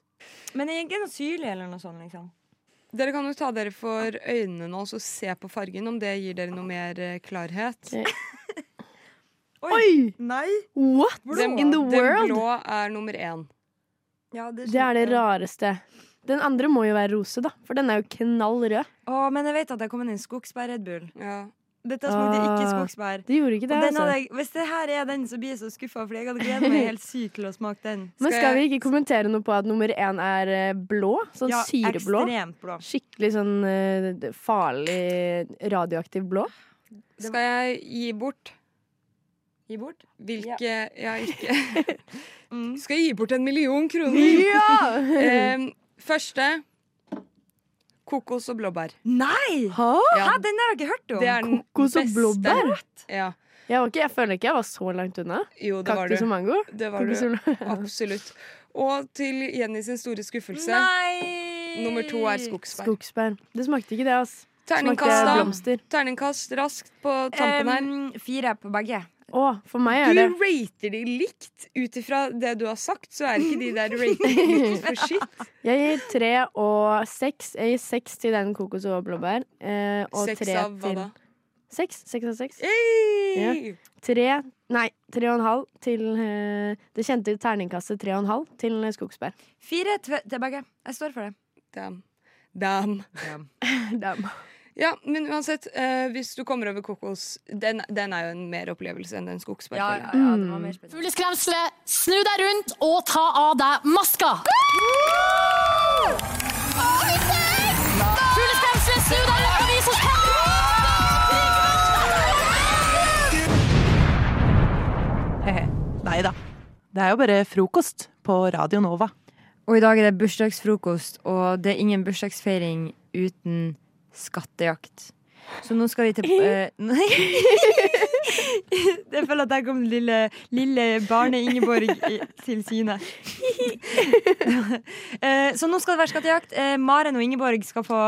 Men jeg er ikke noe syrlig eller noe sånt, liksom. Dere kan jo ta dere for øynene nå og se på fargen, om det gir dere noe mer eh, klarhet. Oi! Nei! What in the world? Den blå er nummer én. det, er det rareste. Den andre må jo være rose, da, for den er jo knall rød. Å, men jeg vet at det er kommet inn skogsbær Red Bull. Dette smakte Ah, ikke skogsbær. det gjorde ikke det, Og den altså. hadde jeg, hvis det her er den, så blir jeg så skuffa, for jeg hadde gledet meg helt sykt til å smake den. Men skal vi ikke kommentere noe på at nummer én er eh, blå? Sånn Ja, syreblå. ekstremt blå. Skikkelig sånn eh, farlig radioaktiv blå. Skal jeg gi bort? Gi bort? Hvilke ja. ikke Mm. Skal jeg gi bort en million kroner? Ja! Em, første kokos og blåbær. Nei! Hæ? Ja. Den der har jeg ikke hørt om. Det er den Kokos og beste. blåbær? Ja. Jeg, var ikke, jeg føler ikke jeg var så langt unna. Jo, det var Kaktus du. og mango? Det var Kokos og du. blå- Absolutt. Og til Jenny sin store skuffelse. Nummer to er skogsbær. Skogsbær. Det smakte ikke det, ass. Terningkast, Smakte da. blomster. Terningkast raskt på tampen her. fire på begge. Å, for meg er det Du rater de likt ut ifra det du har sagt, så er ikke de der ratet likt for shit. Jeg gir tre og seks. Jeg gir seks til den kokos og blåbær. eh, Og Seks tre av hva til da? Seks. Seks av seks. Hey! Tre Nei, tre og en halv til eh, det kjente terningkastet tre og en halv til skogsbær. Fire tve- til begge. Jeg står for det. Damn. Damn. Ja, men uansett, eh, hvis du kommer over kokos Den, den er jo en mer opplevelse enn den skogsbærfellen. Fugleskremselet, snu deg rundt og ta av deg maska! Fugleskremselet, snu deg rundt og vis oss Nei da. Det er jo bare frokost på Radio Nova. Og i dag er det bursdagsfrokost, og det er ingen bursdagsfeiring uten skattejakt. Så nå skal vi til eh, Nei! Jeg føler at der kom lille, lille barne-Ingeborg i- til syne. Eh, Så nå skal det være skattejakt. Eh, Maren og Ingeborg skal få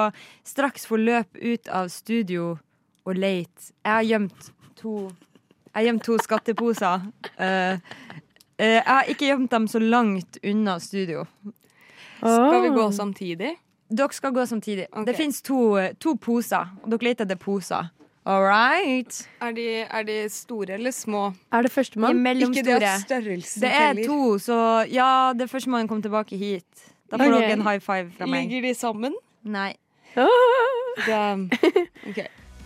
straks få løp ut av studio og lete. Jeg har gjemt to Jeg har gjemt to skatteposer. Eh, eh, Jeg har ikke gjemt dem så langt unna studio. Skal vi gå samtidig? Dere skal gå samtidig. Det fins to, eh, to poser, og dere leter etter poser. All right. Er de, er de store eller små? Er det De førstemann? er mellomstore. Ikke det at størrelsen Det er teller. to, så ja, det er første man kommer tilbake hit. Da får Ok. dere en high five fra meg. Ligger de sammen? Nei. Damn. Ok.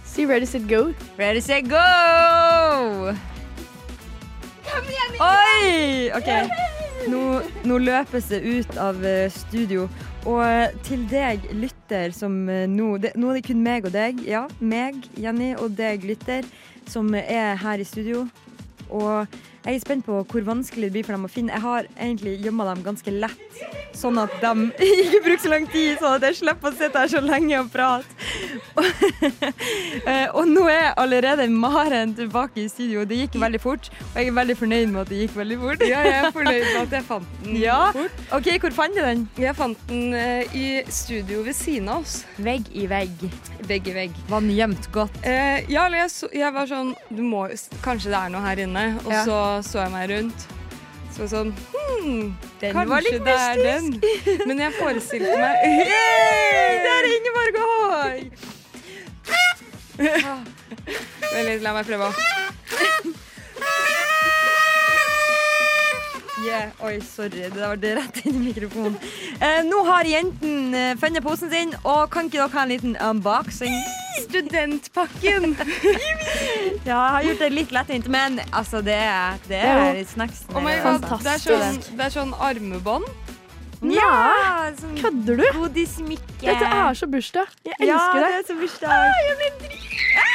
See ready, set, go. Ready, set, go! Oi! OK. Nå, nå løpes det ut av eh, studio. Og eh, til deg, lytter, som eh, nå det, Nå er det kun meg og deg. Ja, meg, Jenny, og deg, lytter, som eh, er her i studio. Og jeg er spent på hvor vanskelig det blir for dem å finne. Jeg har egentlig gjemma dem ganske lett, sånn at de ikke bruker så lang tid, sånn at jeg slipper å sitte her så lenge og prate. Eh, og nå er allerede Maren tilbake i studio. Det gikk veldig fort, og jeg er veldig fornøyd med at det gikk veldig fort. Ja, jeg er fornøyd med at jeg fant den ja. fort. OK, hvor fant du den? Jeg fant den eh, i studio ved siden av oss. Vegg i vegg. Vegg i vegg. Var den gjemt godt? Eh, ja, eller jeg, så, jeg var sånn du må, jo s- Kanskje det er noe her inne. Og Ja. så så jeg meg rundt. Så var jeg sånn hmm, Den kanskje var litt det er den. Men jeg forestilte meg Yay! Der er Ingeborg og Håg! Vent litt, la meg prøve. Yeah. Oi, sorry. Det der var det rett inn i mikrofonen. Eh, nå har jenten eh, funnet posen sin, og kan ikke dere ha en liten unboxing? Studentpakken! Ja, jeg har gjort det litt lettvint, men altså, det er, det er Det er jo- snacksen. Oh my her, God, altså. det er sånn, det er sånn armebånd. Nei! sånn Kødder du? Godismikke. Dette er så bursdag. Jeg elsker ja, det. det er så bursdag. Jeg blir dritglad.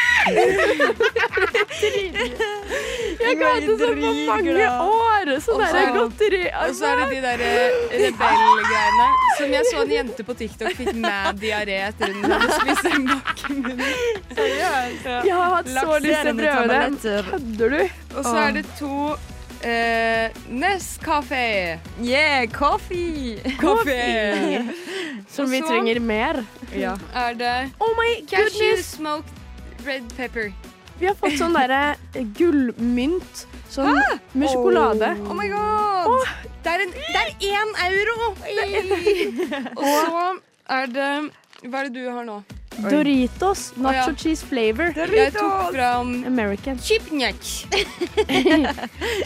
Jeg har hatt det sånn på mange år. Så det er godteri. Og så er det de der eh, rebellgreiene. Som jeg så en jente på TikTok fikk mad diaré etter hun hadde spist en bakke i munnen. Jeg har hatt så lyst til å prøve det. Kødder du? Og så er det to eh, Nescafé. Yeah, coffee! Coffee. Som Og vi så- trenger mer. Ja. Er det Oh my cashew goodness. smoked red pepper? Vi har fått sånn derre gullmynt sånn med sjokolade. Ah! Oh my god! Det er en- det er én euro! Og så er det Hva er det du har nå? Doritos Å, ja. nacho cheese flavor. Jeg tok um, fram American.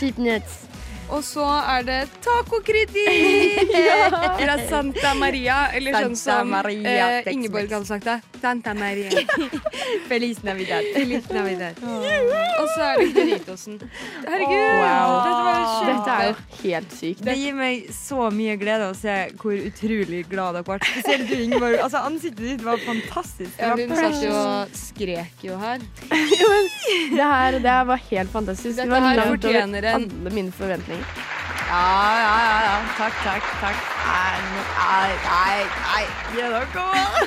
Chipnuts. Og så er det tacokritikk Ja. fra Santa Maria. Eller sånn Santa som Maria, eh, Tex-Mex. Ingeborg hadde sagt det. Santa Maria. Feliz Navidad. Feliz Navidad. Og så er det Doritosen. Herregud! Wow. Dette var jo kjempe... Dette er jo helt sykt. Det gir meg så mye glede å se hvor utrolig glad dere ble. Spesielt du, Ingeborg. Altså, ansiktet ditt var fantastisk. Det ja, var Hun satt jo precious. og skrek jo her. Det her det her var helt fantastisk. Dette det var her langt over fortjener en- alle mine forventninger. Ja, ja, ja, ja. Takk, takk, takk. Nei, nå- nei, nei. nei. Gi dere òg.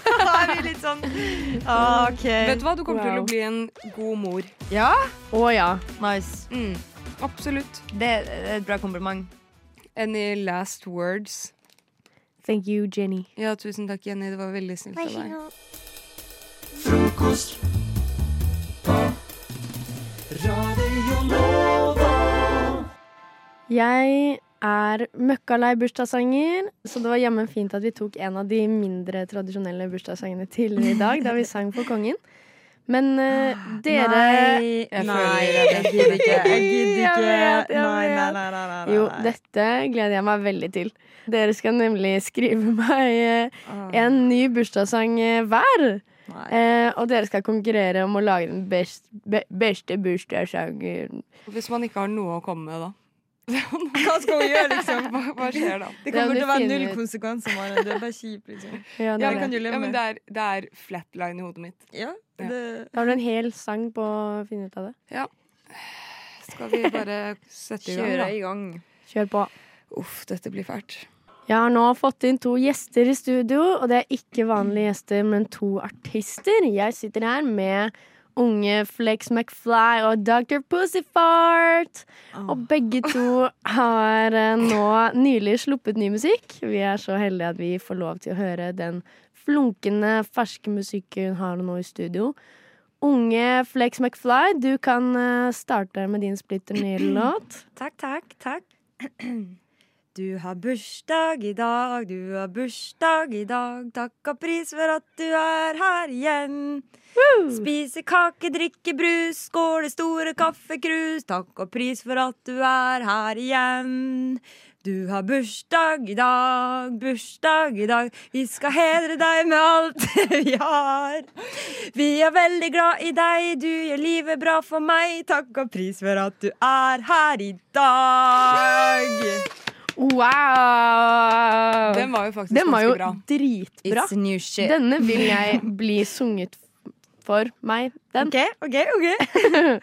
Da er vi litt sånn Ah, OK. Vet du hva? Du kommer til Wow. å bli en god mor. Mm. Ja? Å ja. Nice. Absolutt. Det er et bra kompliment. Any last words? Thank you, Jenny. Ja, tusen takk, Jenny. Det var veldig snilt av deg. Frokost på Radio Nova. Jeg er møkkalei bursdagssanger, så det var jammen fint at vi tok en av de mindre tradisjonelle bursdagssangene tidligere i dag, da vi sang for kongen. Men eh, Ah, dere Nei, Jeg nei, føler jeg gidder ikke, jeg gidder Jeg vet, ikke. jeg Nei, nei, vet. nei, nei, nei, nei, Jo, nei. dette gleder jeg meg veldig til. Dere skal nemlig skrive meg eh, Ah. en ny bursdagssang eh, hver. Eh, og dere skal konkurrere om å lage den best, be, beste bursdagssangen. Hvis man ikke har noe å komme med, da. Hva skal vi gjøre, liksom? Hva, hva skjer da? Det kommer Det til å være finner null ut. konsekvenser, Maren. Det er bare kjipt, liksom. Ja, det Ja, er vi det. kan jo Ja, leve men med det er, det er flatline i hodet mitt. Ja, Ja. det. Da har du en hel sang på å finne ut av det. Ja. Skal vi bare sette i gang? Kjøre da? i gang. Kjør på. Uff, dette blir fælt. Jeg har nå fått inn to gjester i studio, og det er ikke vanlige gjester, men to artister. Jeg sitter her med unge Flex McFly og Dr. Pussyfart. Og begge to har eh, nå nylig sluppet ny musikk. Vi er så heldige at vi får lov til å høre den flunkende, ferske musikken hun har nå i studio. Unge Flex McFly, du kan eh, starte med din splitter nye låt. Takk, takk, takk. Du har bursdag i dag, du har bursdag i dag. Takk og pris for at du er her igjen. Spise kake, drikke brus, skåle store kaffekrus. Takk og pris for at du er her igjen. Du har bursdag i dag, bursdag i dag. Vi skal hedre deg med alt vi har. Vi er veldig glad i deg, du gjør livet bra for meg. Takk og pris for at du er her i dag. Wow! Den var jo faktisk Den var ganske jo bra. dritbra. It's new shit. Denne vil jeg bli sunget for meg. Den. Ok, ok, ok.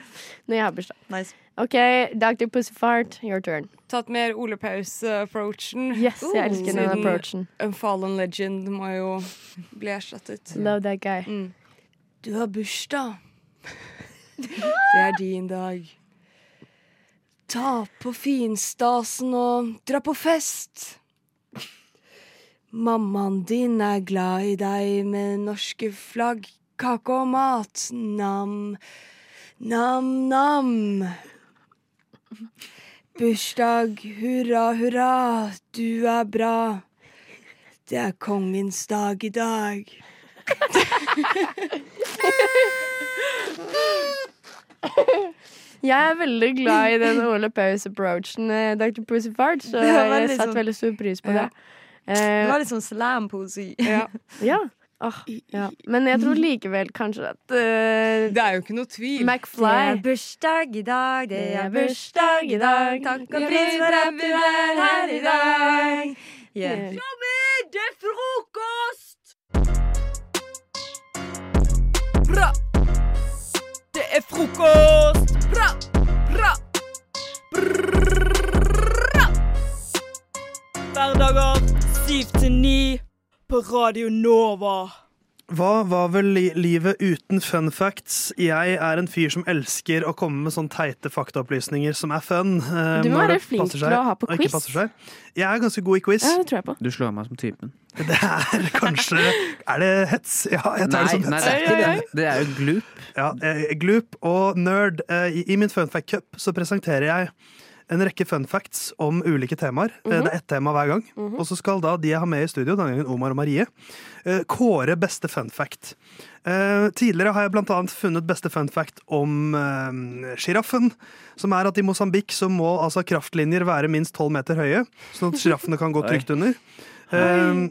Når jeg har bursdag. Nice. OK, Dr. Pussyfart, your turn. Tatt mer Ole Paus-approachen. Yes, jeg elsker den approachen. A Fallen Legend må jo bli erstattet. Mm. Love that guy. Du har bursdag. Det er din dag. Ta på finstasen og dra på fest. Mammaen din er glad i deg med norske flagg, kake og mat. Nam, nam, nam. Bursdag, hurra, hurra, du er bra. Det er kongens dag i dag. Jeg er veldig glad i den Ole Paus-approachen, eh, Dr. Pussyfart, så Det var jeg veldig satte sånn- veldig stor pris på Ja. det. Eh, Det var litt sånn slam-poesi. ja. Åh, ja. Men jeg tror likevel kanskje at eh, Det er jo ikke noe tvil. Det McFly er bursdag i dag, det Det er er bursdag i dag. Takk og pris for at du er her i dag. Yeah. Tommy, det er frokost! Bra! Det er frokost! Bra! Bra! Bra! Hverdager 7 til 9 på Radio Nova. Hva var vel li livet uten fun facts? Jeg er en fyr som elsker å komme med sånne teite faktaopplysninger som er fun. eh, Du må når være det flink passer til å ha på og ikke quiz. passer seg. Jeg er ganske god i quiz. Ja, det tror jeg på. Du slår meg som typen. Det er kanskje Er det hets? Ja, jeg tar det som hets. nei, det er ikke det. Det er jo gloop. Ja, eh, gloop og nerd. Eh, I i min fun fact cup så presenterer jeg en rekke fun facts om ulike temaer. Eh, Mhm. Det er ett tema hver gang. Og så skal da de jeg har med i studio, denne gangen Omar og Marie, eh, kåre beste fun fact. Eh, Tidligere har jeg blant annet funnet beste fun fact om eh, sjiraffen. Som er at i Mosambik så må altså kraftlinjer være minst tolv meter høye, sånn at sjiraffene kan gå Oi. trygt under. Eh,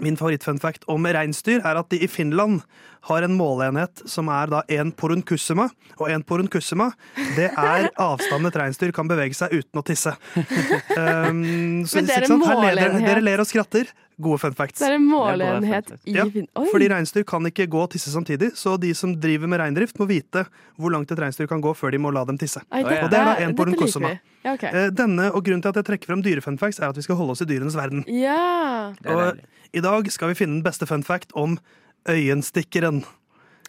Min favorittfunfact om reinsdyr er at de i Finland har en måleenhet som er da én porunkussima. Og én porunkussima det er avstanden et reinsdyr kan bevege seg uten å tisse. Um, så, Men det er ikke en sant? Her ler Dere, måleenhet. dere ler og skratter. Gode fun facts. Det er en måleenhet i Ja, Finn... Oi! fordi reinsdyr kan ikke gå og tisse samtidig, så de som driver med reindrift, må vite hvor langt et reinsdyr kan gå før de må la dem tisse. Oi, og dette- det er da én dette porunkussima. liker vi. Ja, ok. Eh, Denne, og grunnen til at jeg trekker frem dyrefunfacts, er at vi skal holde oss i dyrenes verden. Ja. Og i dag skal vi finne den beste fun fact om øyenstikkeren.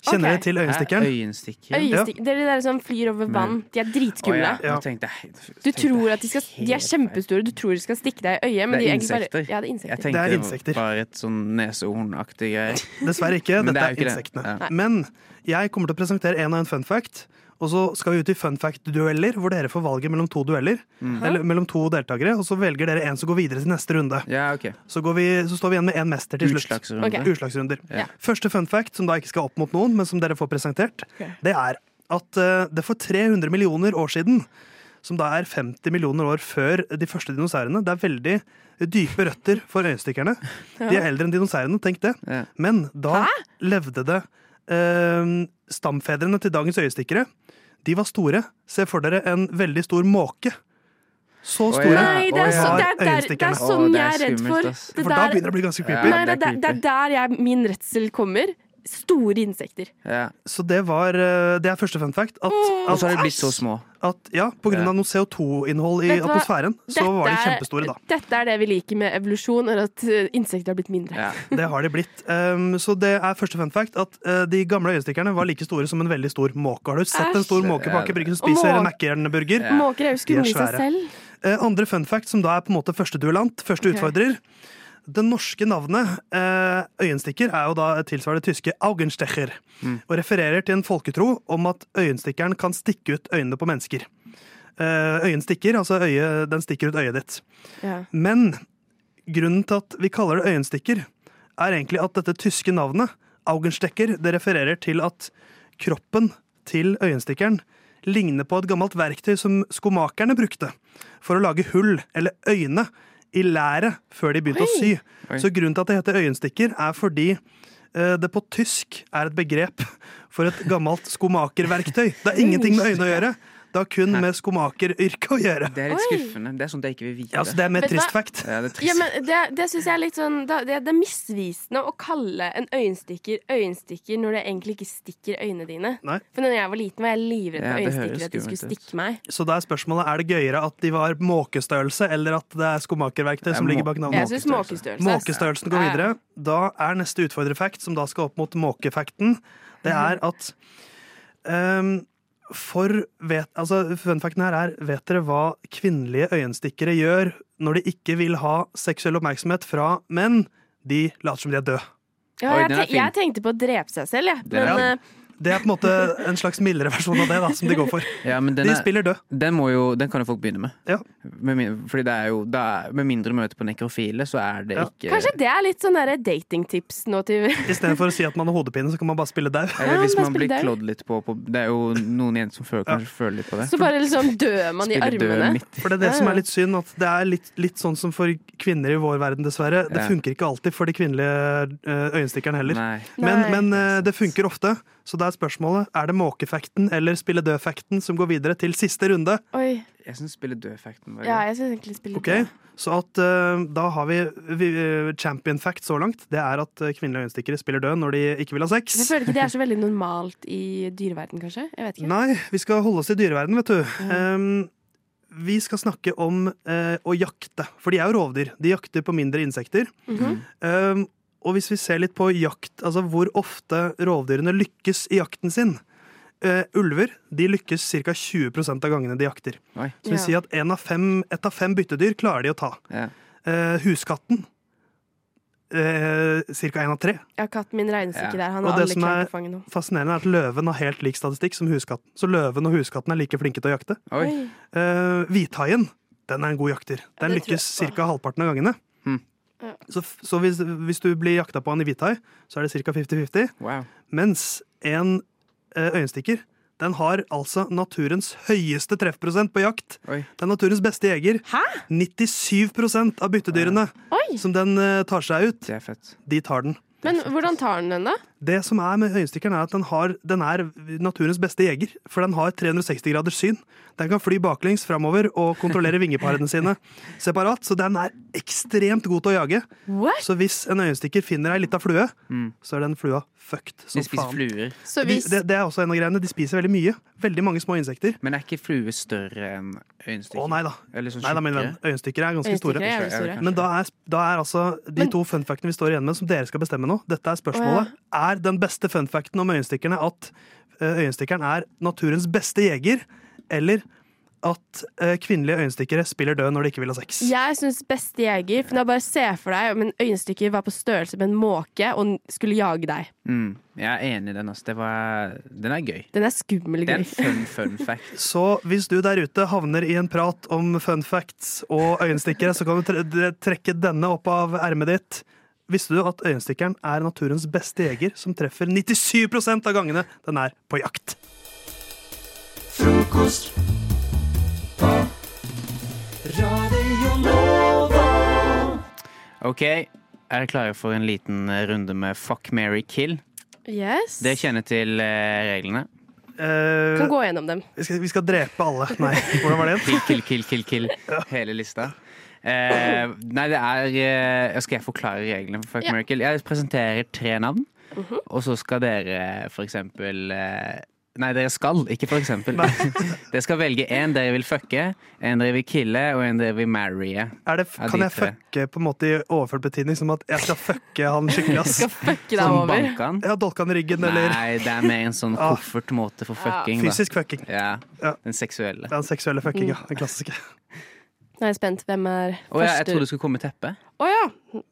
Kjenner Ok. dere til øyenstikkeren? Er øyenstikkeren? Øyestikk. Det er de der som flyr over vann. De er dritskumle. Å, ja. Nå tenkte jeg- Du tror at de skal De er kjempestore. Du tror de skal stikke deg i øyet, men Det de er er egentlig insekter. bare Ja, det er Jeg insekter. tenkte det, var et sånn nesehornaktig greier. Dessverre ikke. Men det Dette jo er, ikke det. insektene. Ja. Men jeg kommer til å presentere en og en fun fact. Og så skal vi ut i fun fact-dueller, hvor dere får valget mellom to dueller. Mm. Eller mellom to deltakere, og så velger dere en som går videre til neste runde. så, går vi, så står vi igjen med én mester til slutt. Utslagsrunde. Ok. Utslagsrunder. Ja. Første fun fact, som da ikke skal opp mot noen, men som dere får presentert, Ok. det er at eh, det for 300 millioner år siden, som da er 50 millioner år før de første dinosaurene, det er veldig dype røtter for øyenstikkerne. De er Ja. eldre enn dinosaurene, tenk det. Men da levde det eh, stamfedrene til dagens øyestikkere. De var store. Se for dere en veldig stor måke. Så Å, store ja. Nei, det er så- var det er der- det er øyenstikkerne. sånn Å, det er jeg er redd skummelt, for. ass. Det For da der- begynner det å bli ganske creepy. Nei, det er, der, det er der jeg, min redsel kommer. Store insekter. Så det var eh, Det er første fun fact. At, Og så har de blitt så små. At, ja, på grunn Ja. av noe CO2-innhold i Vet du hva? atmosfæren, så Dette var de er- kjempestore da. Dette er det vi liker med evolusjon, er at eh, insekter har blitt mindre. Det har de blitt. Um, så det er første fun fact at eh, de gamle øyenstikkerne var like store som en veldig stor måke. Har du sett en stor Æsj. måke på Aker Brygge som Og spiser måk- Mækkern-burger? Måker er jo skumle i De er seg svære. selv. Eh, andre fun fact, som da er på en måte første duellant, første Ok. utfordrer. Det norske navnet eh, øyenstikker er jo da tilsvarende tyske Augenstecher, Mm. og refererer til en folketro om at øyenstikkeren kan stikke ut øynene på mennesker. Eh, øyen stikker, altså øyet, den stikker ut øyet ditt. Ja. Men grunnen til at vi kaller det øyenstikker, er egentlig at dette tyske navnet, Augenstecker, det refererer til at kroppen til øyenstikkeren ligner på et gammelt verktøy som skomakerne brukte for å lage hull, eller øyne, i læret før de begynte å sy. Oi. Så grunnen til at det heter øyenstikker, er fordi eh, det på tysk er et begrep for et gammelt skomakerverktøy. Det har ingenting med øyne å gjøre. Det har kun med skomakeryrket å gjøre. Det er litt skuffende. Det er sånt jeg ikke vil vite. Ja, så det er mer Vet du hva? trist fact. Ja, det er trist. Ja, men det det syns jeg er litt sånn da- det, det er misvisende å kalle en øyenstikker øyenstikker når det egentlig ikke stikker øynene dine. Nei. For når jeg var liten, var jeg livredd for Ja, det høres øyenstikker, at de skummelt skulle ut. stikke meg. Så da er spørsmålet er det gøyere at de var måkestørrelse, eller at det er skomakerverktøy Det er som må- ligger bak navnet? Jeg synes måkestørrelse. Måkestørrelsen går Ja, ja. videre. Da er neste utfordrerfact, som da skal opp mot måkefacten, det Mhm. er at ehm, for vet, altså, fun facten her er Vet dere hva kvinnelige øyenstikkere gjør når de ikke vil ha seksuell oppmerksomhet fra menn? De later som de er døde. Ja, jeg, te jeg tenkte på å drepe seg selv, jeg. Den er- Men eh, Det er på en måte en slags mildere versjon av det da, som de går for. Ja, men den De er- spiller død. Den, må jo, den kan jo folk begynne med. med min- fordi det er jo, da, er- med mindre du møter på nekrofile, så er det ikke kanskje det er litt sånn derre datingtips nå til Istedenfor å si at man har hodepine, så kan man bare spille daud. Eller hvis Ja, man blir det er- klådd litt på, på Det er jo noen jenter som føler, kanskje føler litt på det. Så bare liksom dør man i Spiller død armene. midt For det er det Ja, som ja. er litt synd, at det er litt, litt sånn som for kvinner i vår verden, dessverre. Det Ja. funker ikke alltid for de kvinnelige eh, øyenstikkerne heller. Men, Nei. men eh, det funker ofte, så da er spørsmålet er det måkefacten eller spille død-facten som går videre til siste runde. Oi. Jeg syns spille-død-facten var Ja, jeg syns egentlig spille Ok, så at eh, da har vi, vi eh, champion fact så langt. Det er at eh, kvinnelige øyenstikkere spiller død når de ikke vil ha sex. Jeg føler ikke det er så veldig normalt i dyreverden, kanskje? Jeg vet ikke. Nei, vi skal holde oss i dyreverden, vet du. Ehm, vi skal snakke om eh, å jakte, for de er jo rovdyr. De jakter på mindre insekter. Mhm. Ehm, og hvis vi ser litt på jakt, altså hvor ofte rovdyrene lykkes i jakten sin eh, Ulver de lykkes ca. 20 av gangene de jakter. Så Ja. vi sier at en av fem, ett av fem byttedyr klarer de å ta. Eh, huskatten uh, ca. én av tre. Ja, katten min regnes ikke der. Han Og har det alle som klart er å fange noe. fascinerende, er at løven har helt lik statistikk som huskatten. Så løven og huskatten er like flinke til å jakte. Oi. Eh, hvithaien den er en god jakter. Den det tror lykkes ca. halvparten av gangene. Hm. Ja. Så, f- så hvis, hvis du blir jakta på av en hvithai, så er det ca. 50-50. Mens en eh, øyenstikker den har altså naturens høyeste treffprosent på jakt. Det er naturens beste jeger. 97 av byttedyrene som den eh, tar seg ut, de tar den. Men hvordan tar den den, da? Det som er med øyenstikkeren er at den, har, den er naturens beste jeger, for den har 360 graders syn. Den kan fly baklengs framover og kontrollere vingeparene sine separat, så den er ekstremt god til å jage. Så hvis en øyenstikker finner ei lita flue, så er den flua fucked som De spiser faen. fluer. Så De, hvis- det, det er også en av greiene. De spiser veldig mye. Veldig mange små insekter. Men er ikke flue større enn øyenstikker? Å nei da. Eller sånn Nei da, min venn. tjukkere? Øyenstikkere er ganske store. Øyenstikkere er jævlig store. Men da er, da er altså de to funfactene vi står igjen med, som dere skal bestemme nå. Dette er spørsmålet. Er den beste funfacten om øyenstikkerne at eh, øyenstikkeren er naturens beste jeger, eller at eh, kvinnelige øyenstikkere spiller død når de ikke vil ha sex? Jeg syns beste jeger for da Bare se for deg om en øyenstikker var på størrelse med en måke og skulle jage deg. Mm, jeg er enig i den. ass. Det var, den er gøy. Den er skummel Det er gøy. en fun, fun fact. Så hvis du der ute havner i en prat om fun facts og øyenstikkere, så kan du tre de- trekke denne opp av ermet ditt. Visste du at øyenstikkeren er naturens beste jeger, som treffer 97 av gangene den er på jakt? Frokost på Radio Nova. OK, er dere klare for en liten eh, runde med fuck, marry, kill? Yes. Dere kjenner til eh, reglene? Kan gå gjennom dem. Vi skal, vi skal drepe alle. Nei, hvordan var det? Kill, kill, kill, kill, kill. Hele lista. Eh, nei, det er eh, Skal jeg forklare reglene for Fuck Ja. marry, kill? Jeg presenterer tre navn, Mhm. og så skal dere for eksempel eh, Nei, dere skal, ikke for eksempel. dere skal velge en dere vil fucke, en dere vil kille, og en dere vil marrye. Er det, Av de kan jeg tre. fucke på en måte i overført betydning, som at jeg skal fucke han skikkelig? ass? Skal fucke deg Som over? banke han? Ja, dolke han i ryggen, eller Nei, det er mer en sånn Ah. koffertmåte for Ja. fucking. Fysisk fucking. Ja. Den seksuelle. Mm. Den seksuelle fuckinga. Den klassiske. Nå er jeg spent. Hvem er Å ja, jeg første? trodde det skulle komme teppe. Å ja.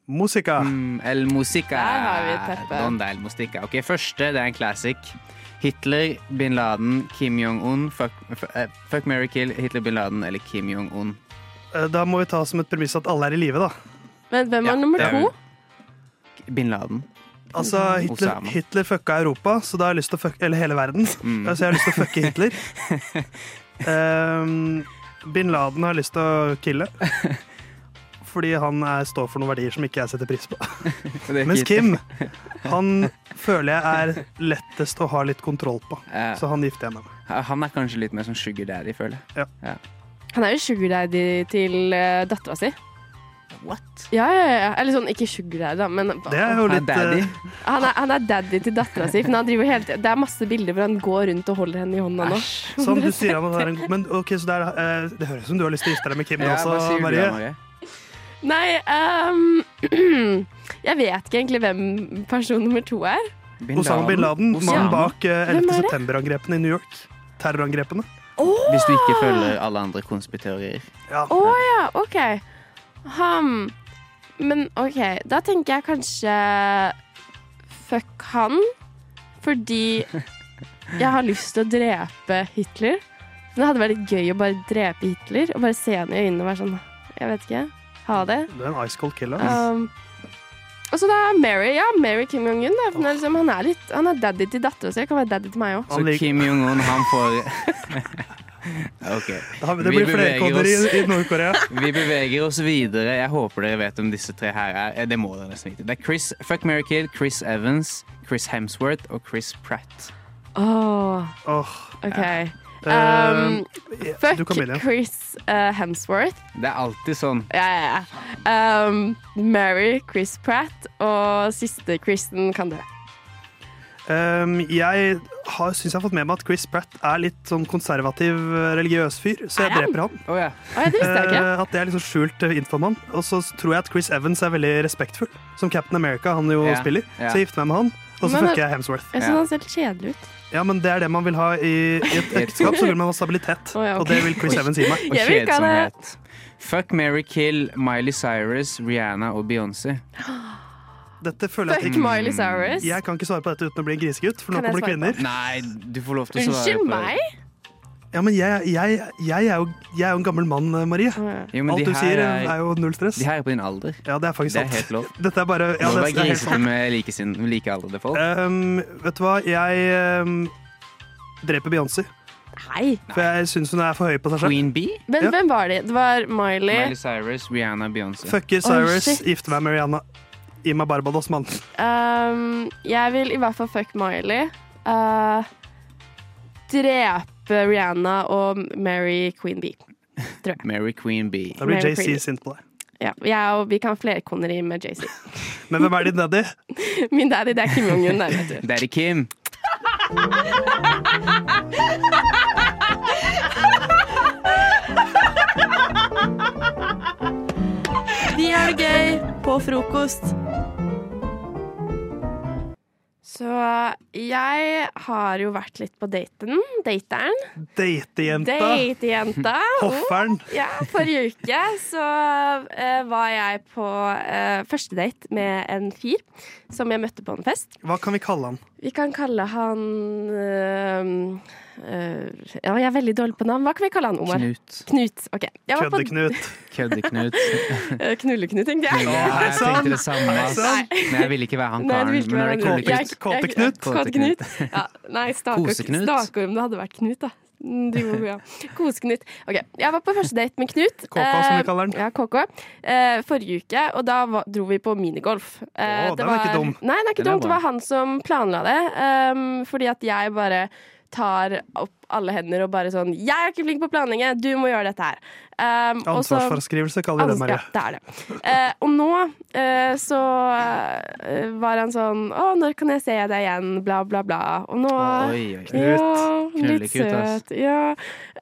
Musica. Mm, el musica. Der har vi et teppe. Donde el mustica. Ok, første, det er en classic. Hitler, bin Laden, Kim Jong-un. Fuck, f- eh, fuck Mary Kill, Hitler, bin Laden eller Kim Jong-un. Eh, Da må vi ta som et premiss at alle er i live, da. Vent, hvem er nummer det er to? Bin Laden. Altså, Hitler, Osama. Hitler fucka Europa, så da har jeg lyst til å fucke Eller hele verden. Mm. Så jeg har lyst til å fucke Hitler. Ehm, Bin Laden har lyst til å kille. Fordi han er, står for noen verdier som ikke jeg setter pris på. er Mens ikke- Kim, han føler jeg er lettest å ha litt kontroll på. Ja. Så han gifter jeg meg med. Han er kanskje litt mer sånn sugar daddy, føler jeg. Ja. Han er jo sugar daddy til uh, dattera si. What? Ja, ja, ja. Eller sånn, ikke sugar daddy, da, men Det er jo Han er litt, daddy. eh, han, er, han er daddy til dattera si. For han driver helt, det er masse bilder hvor han går rundt og holder henne i hånda nå. Sånn, du sier han har en god Men ok, så det, er, eh, det høres ut som du har lyst til å gifte deg med Kim Ja, hva sier også, du Marie. da, Marie? Nei, ehm, jeg vet ikke egentlig hvem person nummer to er. Osama bin Laden, mannen Osama. bak eh, Hvem 11. er det? september-angrepene i New York. Terrorangrepene. Hvis du ikke følger alle andre konspiteorier. Å ja, OK. Ham. Men OK, da tenker jeg kanskje fuck han. Fordi jeg har lyst til å drepe Hitler. Men det hadde vært litt gøy å bare drepe Hitler og bare se henne i øynene og være sånn Jeg vet ikke. Ha det. Det er en ice cold killer. ass. Um, og så da Mary. Ja, Mary Kim Jong-un. da, for han er Liksom, han, er litt- han er daddy til dattera si. Han Kan være daddy til meg òg. Så Kim Jong-un, han får OK. Ja, men det blir flere koder i, i Nord-Korea. Vi beveger oss videre. Jeg håper dere vet om disse tre her er. Eh, Det må dere nesten vite. Det er Chris Fuck Mary Kill, Chris Evans, Chris Hemsworth og Chris Pratt. Åh. Åh. OK. Um, Eh, du fuck kan begynne. Chris eh, Hemsworth. Det er alltid sånn. Ja, ja, ja. Um, Mary Chris Pratt, og siste Kristen kan dø. Ehm, jeg har- syns jeg har fått med meg at Chris Pratt er litt sånn konservativ eh, religiøs fyr, så jeg Er han? dreper han. Oh, ja. Å, ja, det visste jeg ikke. Eh, at det er liksom skjult eh, info om han. Og så s- tror jeg at Chris Evans er veldig respektfull, som Captain America han jo Ja, spiller. ja. Så jeg gifter meg med han, og så Men- eh, fucker jeg Hemsworth. Jeg synes han ser litt kjedelig ut. Ja, men det er det man vil ha i, i et ekteskap, så vil man ha stabilitet. Å, ja, ok. Og det vil Chris Evans gi meg. Og Jeg vil ikke ha det. kjedsomhet. Fuck, Mary Kill, Miley Cyrus, Rihanna og Beyoncé. Dette føler jeg at Fuck jeg- Miley Cyrus. Jeg kan ikke svare på dette uten å bli en grisegutt, for nå Kan jeg kommer det svare kvinner. på Nei, du får lov til å svare Unnskyld på meg? Ja, men jeg, jeg, jeg, er jo, jeg er jo en gammel mann, eh, Marie. Jo, men Alt de du her sier, er- er jo null stress. De her er på din alder. Ja, det er faktisk Det er sant. helt lov. Dette er bare Du ja, må det, være det er helt grisete sant. med likesinn- likealdrende folk. Um, vet du hva, jeg um, dreper Beyoncé. Nei. For jeg syns hun er for høy på seg selv. Queen Bee? Men hvem var de? Det var Miley. Miley Cyrus, Rihanna, Beyoncé. Fucker Oh, Cyrus, shit. gifter meg med Rihanna. Gi meg Barbados, mann. Um, jeg vil i hvert fall fuck Miley. Uh, drepe Rihanna og marry Queen Bee. Mary Queen Bee. Da blir Mary JC Queen. sint på deg. Ja, jeg og vi kan flerkoneri med JC. Men hvem er din daddy? Min daddy, det er Kim Jong-un der, vet du. Daddy Kim. Vi har det gøy på frokost. Så jeg har jo vært litt på daten. Dateren. Datejenta. Datejenta. Oh, Hofferen. Ja, forrige uke så eh, var jeg på eh, første date med en fyr som jeg møtte på en fest. Hva kan vi kalle han? Vi kan kalle han eh, eh, Ja, jeg er veldig dårlig på navn. Hva kan vi kalle han, Omar? Knut. Knut, ok. Jeg var på- Kødde-Knut. Kødde-Knut. Eh, Knulle-Knut, tenkte jeg. Ja, jeg sånn. tenkte det samme. ass. Nei. Men jeg ville ikke være han Nei, du vil karen. ikke men være det han. var Knulle-Knut. Jeg- jeg- Kåteknut. Ja, nei, stake- Koseknut. Stakorm. Det hadde vært Knut, da. Mm, Du, ja. Koseknut. OK. Jeg var på første date med Knut. KK, som vi eh, kaller den. Ja, KK. eh, Forrige uke, og da var, dro vi på minigolf. Eh, Å, den er ikke dum. Nei, det er ikke Den er dumt. Det bra. var han som planla det. ehm, fordi at jeg bare tar opp alle hender og bare sånn 'Jeg er ikke flink på planlegge, du må gjøre dette her'. Ehm, og så- Ansvarsforskrivelse kaller vi det, Ans- Marie. Ja, det er det. Eh, og nå eh, så eh, var han sånn Å, når kan jeg se deg igjen? Bla, bla, bla. Og nå Oi, oi, oi. Ja, Knut. litt Knullekut, ass. søt. Ja.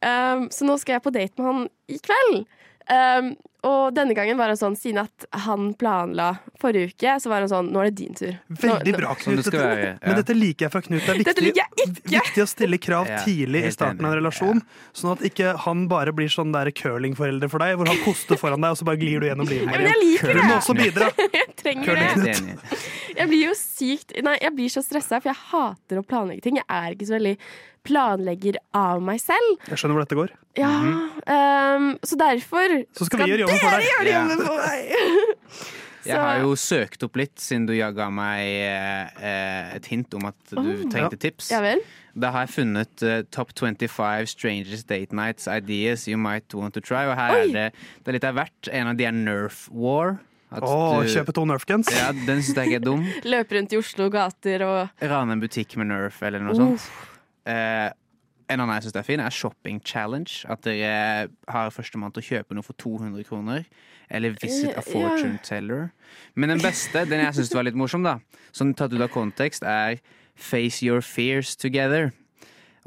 Um, så nå skal jeg på date med han i kveld. Um, og denne gangen var han sånn, siden at han planla forrige uke, så var han sånn Nå er det din tur. Nå- Veldig bra, Som Knut. det skal Dette- være, ja. Men dette liker jeg fra Knut. Det er Dette viktig, liker jeg ikke! viktig å stille krav Ja, tidlig i helt starten av en relasjon, sånn at ikke han bare blir sånn der curlingforelder for deg, hvor han koster foran deg, og så bare glir du gjennom livet. Nei, Maria. men jeg liker Du må det. også bidra. jeg trenger Curling det. Jeg blir jo sykt Nei, jeg blir så stressa, for jeg hater å planlegge ting. Jeg er ikke så veldig planlegger av meg selv. Jeg skjønner hvor dette går. Ja, ehm, så derfor Mhm. Så skal vi gjøre jobben for dere deg. gjøre Ja. jobben for meg! Jeg har jo søkt opp litt, siden du jaga meg eh, eh, et hint om at du Oh. trengte tips. Ja vel. Da har jeg funnet eh, Top 25 Strangest Date Nights Ideas You Might Want To Try. Og her Oi. er det, det er litt av hvert. En av de er Nerf War. At Å, du- kjøpe to Nerfguns. Ja, den syns jeg ikke er dum. Løpe rundt i Oslo gater og Rane en butikk med Nerf eller noe sånt. Eh, en annen jeg syns er fin, er Shopping Challenge. At dere har førstemann til å kjøpe noe for 200 kroner. Eller Visit Ja. a Fortune Teller. Men den beste, den jeg syns var litt morsom, da, som tatt ut av kontekst, er Face Your Fears Together.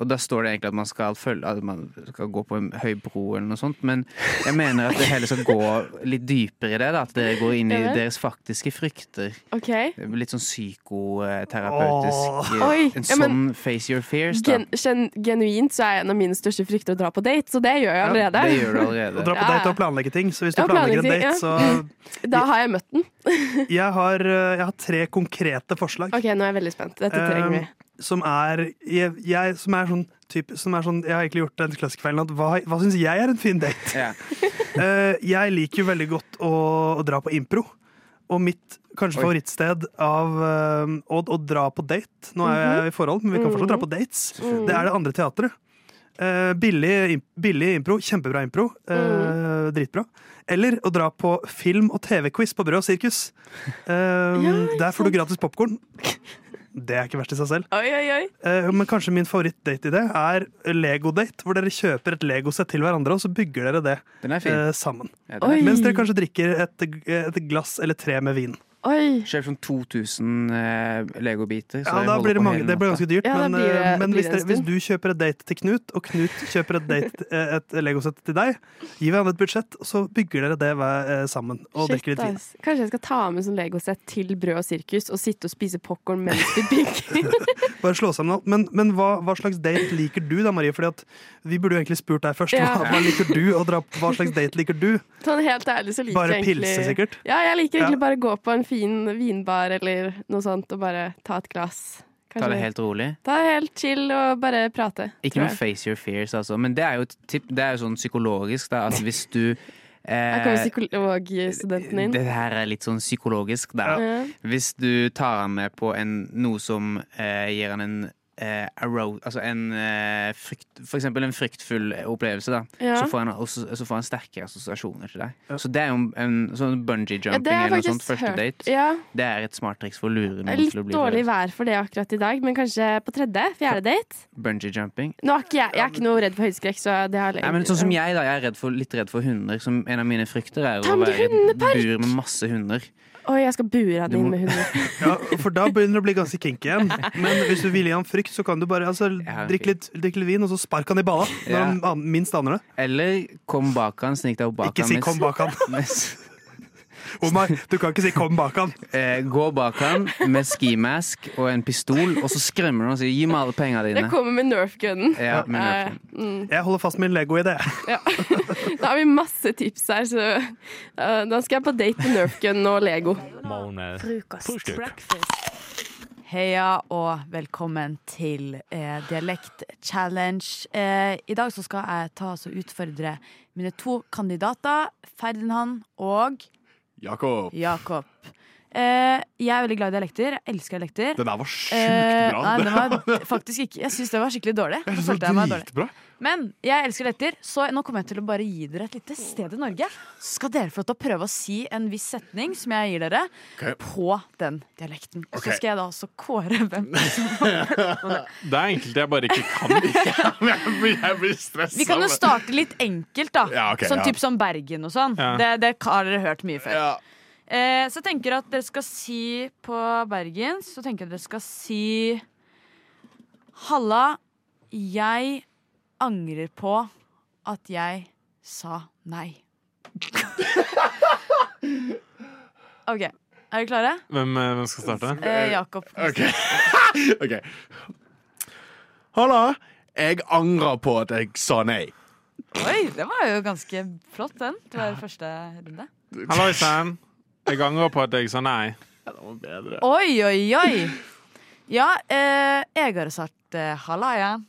Og da står det egentlig at man skal følge At man skal gå på en høy bro eller noe sånt, men jeg mener at det heller skal gå litt dypere i det. Da, at dere går inn i Ja vel. deres faktiske frykter. OK. Litt sånn psykoterapeutisk. Åh. Oi, En ja, sånn men- face your fears, da. Gen gen- genuint så er en av mine største frykter å dra på date, så det gjør jeg allerede. det gjør du allerede. Og dra på Ja. date og planlegge ting. Så hvis du Ja, planlegger en planlegge date, ting, så Da har jeg møtt den. jeg har, eh, jeg har tre konkrete forslag. OK, nå er jeg veldig spent. Dette trenger vi. Um, eh, som er jeg, jeg, som er sånn type som er sånn, Jeg har egentlig gjort den klassikfeilen at hva, hva syns jeg er en fin date? Eh, jeg liker jo veldig godt å, å dra på impro. Og mitt kanskje Oi. favorittsted av eh, å, å dra på date Nå er Mhm. jeg i forhold, men vi kan fortsatt dra på dates. Mm. Selvfølgelig. Det er det andre teatret. Eh, billig, imp- billig impro, kjempebra impro. eh, Mm. Dritbra. Eller å dra på film- og TV-quiz på Brød og sirkus. Eh, der får du gratis popkorn. Det er ikke verst i seg selv. Oi, oi, oi. Eh, Men kanskje min favorittdate-idé er Lego-date, hvor dere kjøper et Lego-sett til hverandre, og så bygger dere det fin. eh, sammen. Ja, den er fin. Mens dere kanskje drikker et, et glass eller tre med vin. Oi. Kjøp sånn 2000 eh, legobiter. så Ja, jeg da holder blir det på mange. hele Det blir natta. ganske dyrt. Ja, da men blir det- eh, men blir hvis, det en dere, hvis stund. du kjøper et date til Knut, og Knut kjøper et, date, eh, et Lego-sett til deg, gir hverandre et budsjett, og så bygger dere det hver, eh, sammen og Shit, drikker litt vin. ass. Kanskje jeg skal ta med sånn legosett til Brød og sirkus og sitte og spise popkorn mens vi bygger. Bare slå sammen alt. Men, men hva, hva slags date liker du da, Marie? Fordi at vi burde jo egentlig spurt deg først. Ja. Hva, hva liker du å dra på? Hva slags date liker du? Sånn helt ærlig så liker Bare jeg pilse, egentlig sikkert? Ja, jeg liker egentlig Ja. bare å gå på en fin vinbar eller noe sånt og bare ta et glass. Ta det Kanskje- helt rolig. Ta det helt chill og bare prate. Ikke tror noe jeg. face your fears, altså. Men det er jo, et tipp, det er jo sånn psykologisk, da, at hvis du Her eh, kommer psykologstudenten inn. Det her er litt sånn psykologisk, da. Ja. Hvis du tar han med på en, noe som eh, gir han en eh, aro, altså en eh, frykt, For eksempel en fryktfull opplevelse, da. Ja. Så, får han også, så får han sterke assosiasjoner til deg. Så det er jo en, en sånn bungee Ja, det jumping har jeg eller noe sånt faktisk første hørt. date. Ja. Det er et smart triks for å lure Det er noen Litt til å bli dårlig forelsket. vær for det akkurat i dag, men kanskje på tredje? Fjerde date? Bungee jumping. Nå er ikke jeg, jeg er ikke noe redd for høydeskrekk, så det har Nei, men sånn som jeg da, jeg er redd for, litt redd for hunder. Som en av mine frykter er Ta å med være i et hundepark! bur med masse hunder. Oi, jeg skal bure han inn med hunder. Ja, for da begynner det å bli ganske kinky igjen. Men hvis du vil gi han frykt, så kan du bare altså, drikke, litt, drikke litt vin, og så spark han i balla når Ja. han an- minst aner det. Eller kom bak han, snik deg opp bak Ikke han. si mens- 'kom bak han'. Omar, du kan ikke si 'kom bak han'. Eh, gå bak han med skimask og en pistol, og så skremmer du han og sier 'gi meg alle pengene Jeg dine'. kommer med Nerf-gunnen. Ja, med Eh, mm. Jeg holder fast min Lego-idé. Da har vi masse tips her, så eh, da skal jeg på date med Nerf-gun og Lego. Frokost. Heia og velkommen til eh, Dialekt-challenge. Eh, I dag så skal jeg ta og utfordre mine to kandidater, Ferdinand og Jakob. Jakob. Eh, jeg er veldig glad i dialekter. Jeg elsker dialekter. Det der var sjukt Eh, bra. nei, det var faktisk ikke Jeg syns det var skikkelig dårlig. Jeg synes Følte det jeg var meg dårlig. dritbra. Men jeg elsker dialekter, så nå kommer jeg til å bare gi dere et lite sted i Norge. Så skal dere få lov til å prøve å si en viss setning som jeg gir dere, Ok. på den dialekten. Og Ok. Så skal jeg da også kåre hvem Det er enkelte jeg bare ikke kan. Jeg blir, jeg blir stressa. Vi kan jo starte litt enkelt, da. Ja, ok, sånn ja. typ som Bergen og sånn. Ja. Det, det har dere hørt mye før. Eh, så jeg tenker at dere skal si på Bergen Så tenker jeg at dere skal si Halla, jeg angrer på at jeg sa nei. OK. Er dere klare? Hvem, eh, hvem skal starte? Eh, Jakob. Ok. ok. Halla. Jeg angrer på at jeg sa nei. Oi, det var jo ganske flott, den. Det var første runde. Halloisen. Jeg angrer på at jeg sa nei. Ja, det var bedre. Oi, oi, oi. Ja, eh, jeg hadde sagt eh, halla igjen.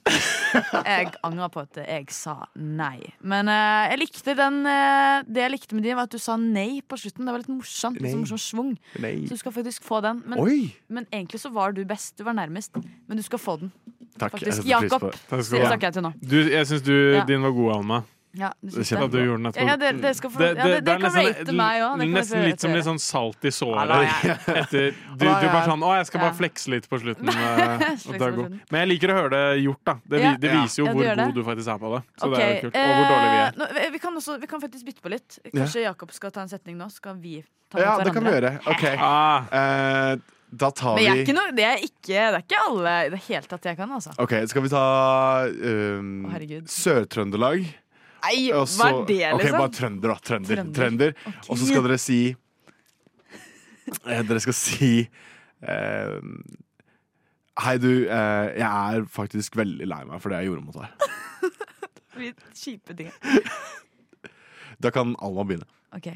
Jeg angrer på at jeg sa nei. Men eh, jeg likte den, eh, det jeg likte med din, var at du sa nei på slutten. Det var litt morsomt. Nei. Litt sånn morsom svung. Nei. Så du skal faktisk få den. Men, Oi. men egentlig så var du best. Du var nærmest. Men du skal få den. Takk. jeg Faktisk. setter pris Jakob. på det. Takk skal Dere ha. snakker jeg til nå. Du, jeg syns du, Ja. din var god, Alma. Ja, du syns Kjent det. at du gjorde den etterpå. Ja, ja, dere- dere skal få- ja, dere- dere det er kan nesten- sånn- rate meg også. Dere kan Nesten rate litt som dere. litt sånn salt i såret. Hallo, Etter, du, du Hallo, bare ja. sånn Å, jeg skal bare Ja. flekse litt på slutten. eh, Flekse og på det er god. slutten. Men jeg liker å høre det gjort, da. Det, vi- Ja. det Ja. viser jo Ja, du hvor gjør det. god du faktisk er på det. Så Ok, det er jo kult. Og hvor dårlige vi eh, er. nå- vi, kan også, vi kan faktisk bytte på litt. Kanskje Jakob skal ta en setning nå? Så kan vi ta mot Ja, hverandre. det kan vi gjøre. Ok. Ah. Da tar Men jeg er vi ikke noe, det, er ikke, det er ikke alle i det hele tatt jeg kan, altså. Ok, skal vi ta eh, um, herregud. Sør-Trøndelag? Nei, hva Og så- er det, Ok, liksom? bare trønder, da. Trønder. Trønder. trønder. Og så skal dere si eh, Dere skal si eh, Hei, du. Eh, jeg er faktisk veldig lei meg for det jeg gjorde mot deg. Vi- Kjipe ting. Da kan Alma begynne. OK.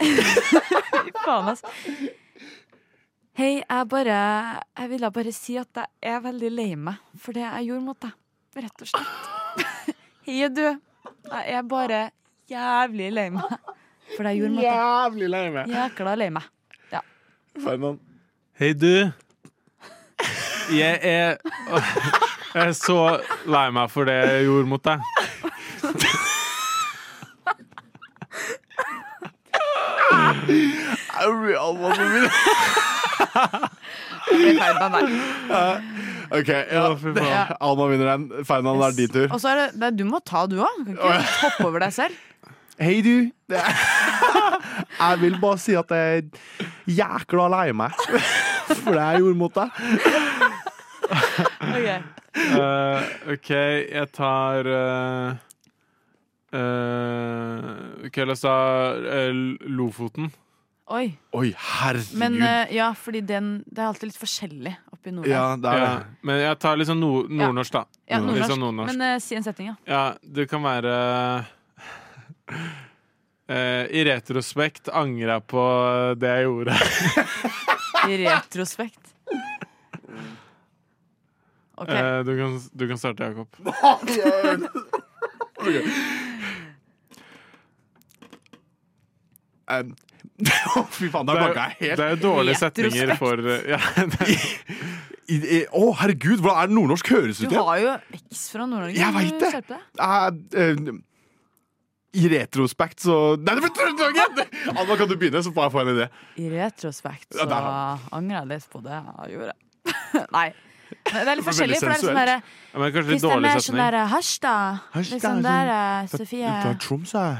Fy faen, altså. Hei, jeg bare Jeg ville bare si at jeg er veldig lei meg for det jeg gjorde mot deg. Rett og slett. Hei, du. Jeg er bare jævlig lei meg for det jeg gjorde mot deg. Jævlig lei meg. Jækla lei meg. Ja. Ferdinand. Hei, du. Jeg er Jeg er så lei meg for det jeg gjorde mot deg. Au, Alma, så mye. Det er feil på meg. Ja, OK. Ja, faen. Alma vinner den. Ferdinand, det er din tur. Og så er det, det er- Du må ta, du òg. Kan Å, ja. ikke hoppe over deg selv. Hei, du. Det er- Jeg vil bare si at jeg er jækla lei meg for det jeg gjorde mot deg. Eh, OK, jeg tar eh, eh, OK, la oss ta eh, Lofoten. Oi. Oi, herregud. Men eh, ja, fordi den Det er alltid litt forskjellig oppi nord. Men jeg tar litt sånn nord Ja. nordnorsk, da. Ja, Litt nordnorsk. sånn nordnorsk. Men eh, si en setning, ja. Ja, det kan være eh, I retrospekt angrer jeg på eh, det jeg gjorde. I retrospekt. Ok. Eh, du, kan, du kan starte, Jakob. Ok. Um, Å, fy faen, der Eh, Det er- banka jeg helt. det er jo dårlige setninger for- eh, ja, I- i- Å, herregud, hvordan er det nordnorsk høres ut Du har jo X fra Nord-Norge. Jeg Kan vet du det. skjerpe deg? Eh, eh, I retrospekt så Nei, det ble Trøndelagen! Alma, kan du begynne, så får jeg få en idé? I retrospekt så Ja, der har angrer jeg litt på det jeg gjorde. Nei. Det er litt Det var veldig forskjellig. For det er sånn sensuelt. derre Ja, men kanskje litt Hvis det er dårlig mer sånn setning. derre Hasj, da. Hasj, da, Liksom sånn- der, eh, Ta- Sofie. ta Troms, jeg.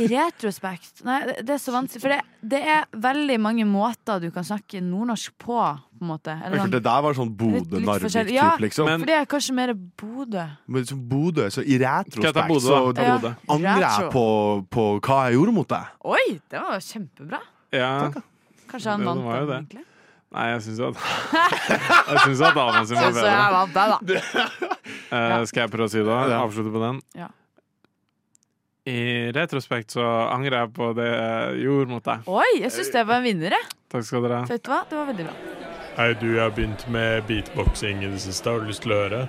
I retrospekt Nei, det- det er så vanskelig. For det, det er veldig mange måter du kan snakke nordnorsk på, på en måte. Eller For sånn det der var sånn litt Bodø-Narvik-type, forskjellig. Ja, liksom. for det er kanskje mer Bodø. Men som Bodø, så i Skal jeg ta retrospekt Bodø, så da? Ja. Bodø. angrer jeg Retro. på, på hva jeg gjorde mot deg. Oi, det var jo kjempebra. Ja. Kanskje han Det vant var jo den, det. egentlig. Nei, jeg syns at Jeg syns at dama sin var Sånn som jeg bedre. vant den, da. Eh, skal jeg prøve å si det? da? Avslutte på den? Ja. I retrospekt så angrer jeg på det jeg gjorde mot deg. Oi, jeg syns det var en vinner, jeg. Takk skal dere Så ha. Vet du hva, det var veldig bra. Hei, du, jeg har begynt med beatboxing i det siste. Har du lyst til å høre?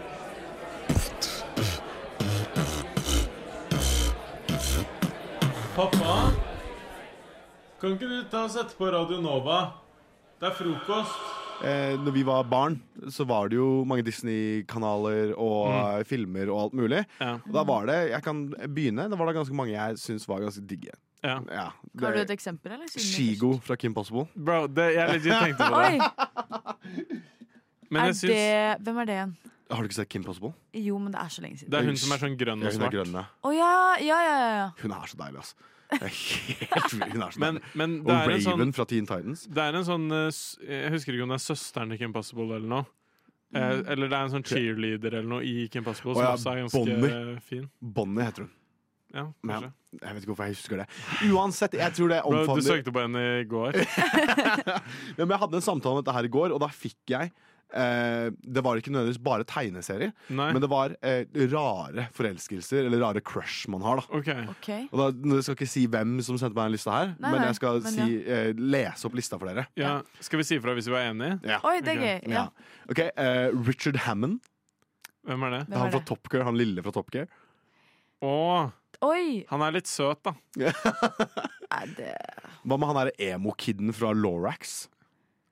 Pappa, kan ikke du ta og sette på Radio Nova? Det er frokost. Eh, når vi var barn, så var det jo mange Disney-kanaler og Mm. eh, filmer og alt mulig. Og da var det, jeg kan begynne, da var det ganske mange jeg syns var ganske digge. Ja. det- Har du et eksempel, eller? Siden- Shigo fra Kim Possible. Bro, det, jeg legit tenkte på Oi! det. Men er jeg syns det, hvem er det igjen? Har du ikke sett Kim Possible? Jo, men det er så lenge siden. Det er hun som er sånn grønn Ja, og hun er svart. grønn, ja. Å ja, ja, ja, ja, ja. Hun er så deilig, altså. Det er helt vild. Hun er så Men- deilig. men det og er en Raven sånn- fra Teen Titans. Det er en sånn eh, s- Jeg husker ikke om det er søsteren til Kim Possible eller noe. Eh, Mm. Eller det er en sånn cheerleader eller noe i Kim Possible Å som ja, også er ganske Bonnie. eh, fin. Bonnie heter hun. Ja, Men kanskje. jeg vet ikke hvorfor jeg husker det. Uansett, jeg tror det Bro, du omfavner søkte på henne i går. Ja, men jeg hadde en samtale om dette her i går, og da fikk jeg eh, Det var ikke nødvendigvis bare tegneserier, Nei. men det var eh, rare forelskelser, eller rare crush man har. da Ok. Og da, nå skal jeg ikke si hvem som sendte meg den lista her, Nei, men nei, jeg skal men si, eh, lese opp lista for dere. Ja, skal vi si ifra hvis vi var enige? Oi, det er gøy, ja. Ok, eh, Richard Hammond. Hvem er det? Hvem Han er fra det? Top Gear, han lille fra Top Gear. Å, Oi! han er litt søt, da. Hva med han derre emo-kiden fra Lorax?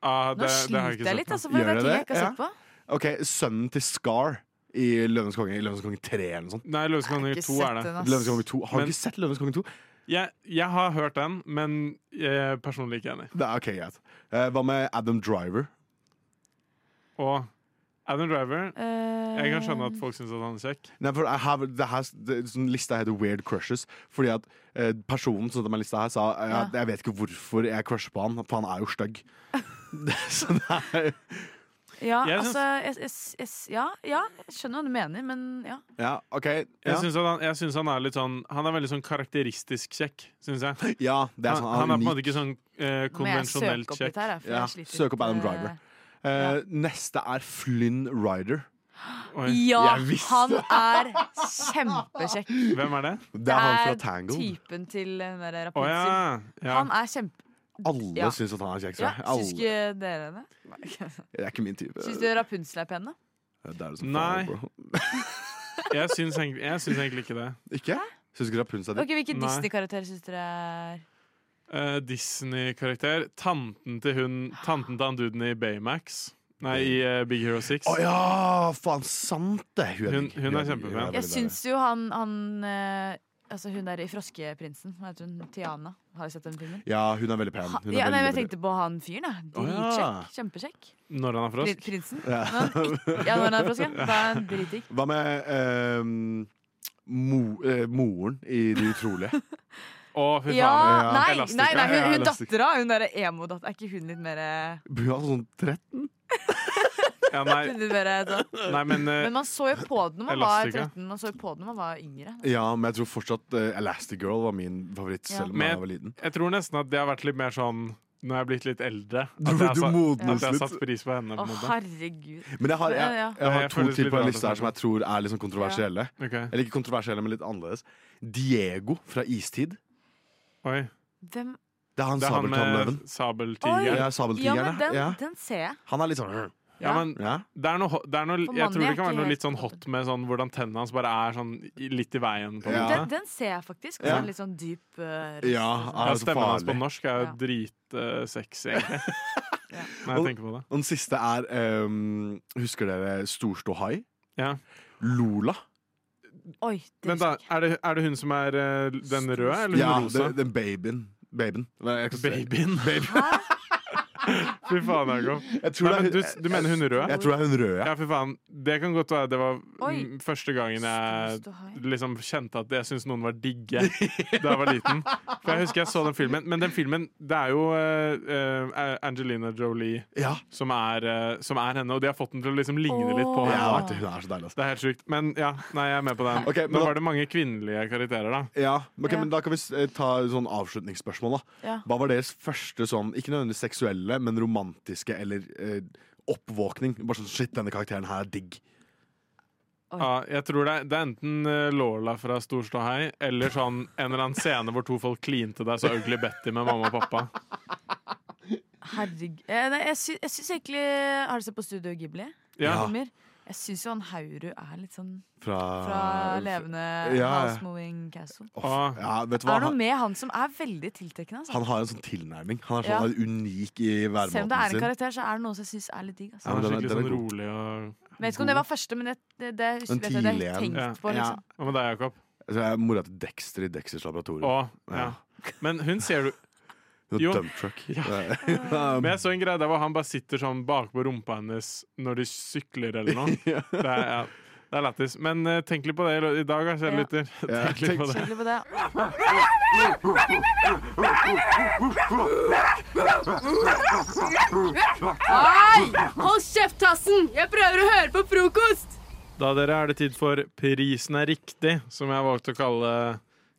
Ah, Nå sliter jeg litt, altså, for det er ting jeg ikke har sett på. Ok, Sønnen til Scar i Løvenes konge. I Løvenes konge 3 eller noe sånt. Nei, Løvenes konge Nei, ikke 2 er det. sett den, ass. Løvenes konge 2. Har Men- du ikke sett Løvenes konge 2? Jeg, jeg har hørt den, men jeg er personlig ikke enig. Det er ok, greit. Eh, hva med Adam Driver? Og Adam Driver Jeg kan skjønne Eh. at folk syns at han er kjekk. Nei, for jeg har- det her, det, sånn lista heter Weird Crushes, fordi at eh, personen som sendte meg lista her, sa eh, at jeg vet ikke hvorfor jeg crusher på han, for han er jo stygg. Så det er Ja, Jeg syns- altså jeg, jeg, jeg, ja, ja, jeg skjønner hva du mener, men ja. Ja, OK. Jeg Ja. syns han, jeg synes han er litt sånn Han er veldig sånn karakteristisk kjekk, syns jeg. Ja, det er sånn, han, han er på en måte unik. ikke sånn Nå må eh, jeg søke konvensjonelt opp kjekk. litt her, jeg, for jeg Ja, sliter søk opp litt, Adam eh, Driver. Eh, Neste er Flynn Ryder. Ja, Jeg visste han det. er kjempekjekk. Hvem er det? Det er han fra Tango. typen til den der Å, Rapunzel. ja, ja. Han er kjempe... Alle Ja. syns at han er kjekk. tror Ja, jeg. syns Alle. ikke dere det? Det er ikke min type. Syns du Rapunzel er pen, da? Det er det som Nei. faen, bro. Jeg syns egentlig, jeg syns egentlig ikke det. Ikke? Syns ikke Rapunzel er Ok, Hvilke Nei. Disney-karakterer syns dere er Eh, Disney-karakter. Tanten til hun Tanten til han duden i Baymax. Nei, i eh, Big Hero 6. Å ja, faen sant det! Hun- digg. hun er digg. kjempepen. veldig Jeg deilig. syns jo han, han eh, Altså hun der i Froskeprinsen, hva heter hun? Tiana. Har du sett den filmen? Ja, hun er veldig pen. Ha, Hun er ja, nei, veldig, jeg veldig- tenkte på han fyren, jeg. Å, ja. Dritkjekk. Kjempekjekk. Når han er frosk? Pri- Prinsen. Ja. Når han ikke- Ja, når han er frosk, ja. Da er han dritdigg. Hva med ehm, mo, eh, moren i De utrolige? Å, fy Ja, faen. nei, Elastic. nei, nei, Ja, ja, hun, hun Elastic. dattera, hun derre emo-datter, er ikke hun litt mer eh, Hun er sånn 13? Ja, hun nei, litt mer eh, sånn? nei, men eh, Men man så jo på det når man var Elastica. 13, man så jo på det når man var yngre. Ja, men jeg tror fortsatt uh, Elastic Girl var min favoritt, Ja. selv om Men jeg var liten. Jeg tror nesten at det har vært litt mer sånn Når jeg har blitt litt eldre. Du- At jeg, har du sa- modnes at jeg har litt. satt pris på henne. Å, herregud. Men jeg har, jeg, Ja, ja. jeg har Jeg to føler det til blir på bra, den lista det her som jeg tror er litt sånn kontroversielle. Ja. Ok. Eller ikke kontroversielle, men litt annerledes. Diego fra Istid. Oi. Hvem Det er han Det er han med sabeltannløven. sabeltigeren. Ja, sabeltigeren. Ja, men den, ja. den ser jeg. Han er litt sånn Ja, men Det er noe, ho- det er noe, For jeg mannen tror er det kan ikke være noe helt litt sånn hot med sånn hvordan tennene hans bare er sånn i- litt i veien. På en måte. Den, den ser jeg faktisk. Ja. Sånn Litt sånn dyp eh, røst. Ja, han er så stemmen hans på farlig. norsk er jo dritsexy, egentlig. Når jeg Og- tenker på det. Og den siste er ehm, Husker dere Storståhai? Ja. Lola. Oi, Vent, da. Er det, er det hun som er eh, den røde, eller hun ja, den- rosa? Den babyen. Babyen. Nei, jeg kan si- Babyen. Fy faen, Jakob. Jeg tror Nei, det men er- du, du mener hun rød? Jeg tror det er hun rød, ja. ja. fy faen. Det kan godt være det var Oi. mm, første gangen jeg liksom kjente at jeg syntes noen var digge da jeg var liten. For jeg husker jeg så den filmen. Men den filmen, det er jo eh, eh, Angelina Jolie som, er, eh, som er henne, og de har fått den til å liksom ligne litt på Åh. henne. Ja, hun er så deilig, altså. Det er helt sjukt. Men ja, nei, jeg er med på den. Ok, men Nå da- var det mange kvinnelige karakterer, da. Ja, men, ok, Ja. men Da kan vi s- eh, ta sånn avslutningsspørsmål. da Ja. Hva var deres første sånn, ikke nødvendigvis seksuelle, men romantiske eller eh, oppvåkning? Bare sånn, Shit, denne karakteren her er digg. Ja, jeg tror det er, det er enten eh, Lola fra Storståhei eller sånn en eller annen scene hvor to folk klinte deg så Ugly Betty med mamma og pappa. Herregud. Eh, Nei, jeg, sy jeg syns egentlig Har du sett på Studio Ghibli? Ja. Filmer? Jeg syns jo han Hauru er litt sånn Fra- fra levende Ah, Ja, ja. House Moving Castle. Åh, ja, vet du Det hva? er noe Han, med han som er veldig tiltrekkende. Altså. han har en sånn tilnærming. Han er Ja. sånn er unik i Selv om det er væremåten en sin. karakter, så er det noe som jeg syns er litt digg. Altså. Ja, men den er- Skikkelig den er sånn god. rolig og Men jeg vet ikke om det var første, men det, det, det husker Den vet jeg, det har jeg tidlige en. tenkt på. Liksom. Hva med deg, Jakob? Altså, jeg er mora til Dexter i Dexters laboratorium. Å, ja. Men hun ser du Hun Jo. er dump truck. Men jeg så en greie der hvor han bare sitter sånn bakpå rumpa hennes når de sykler eller noe. Det er, ja, det er lættis. Men eh, tenk litt på det i lø- i dag, da, kjære Ja. lytter. Ja, Tenk litt på det. Kjedelig på liksom. det. Hei! Hold kjeftassen! Jeg prøver å høre på frokost! Da dere er det tid for Prisen er riktig, som jeg valgte å kalle,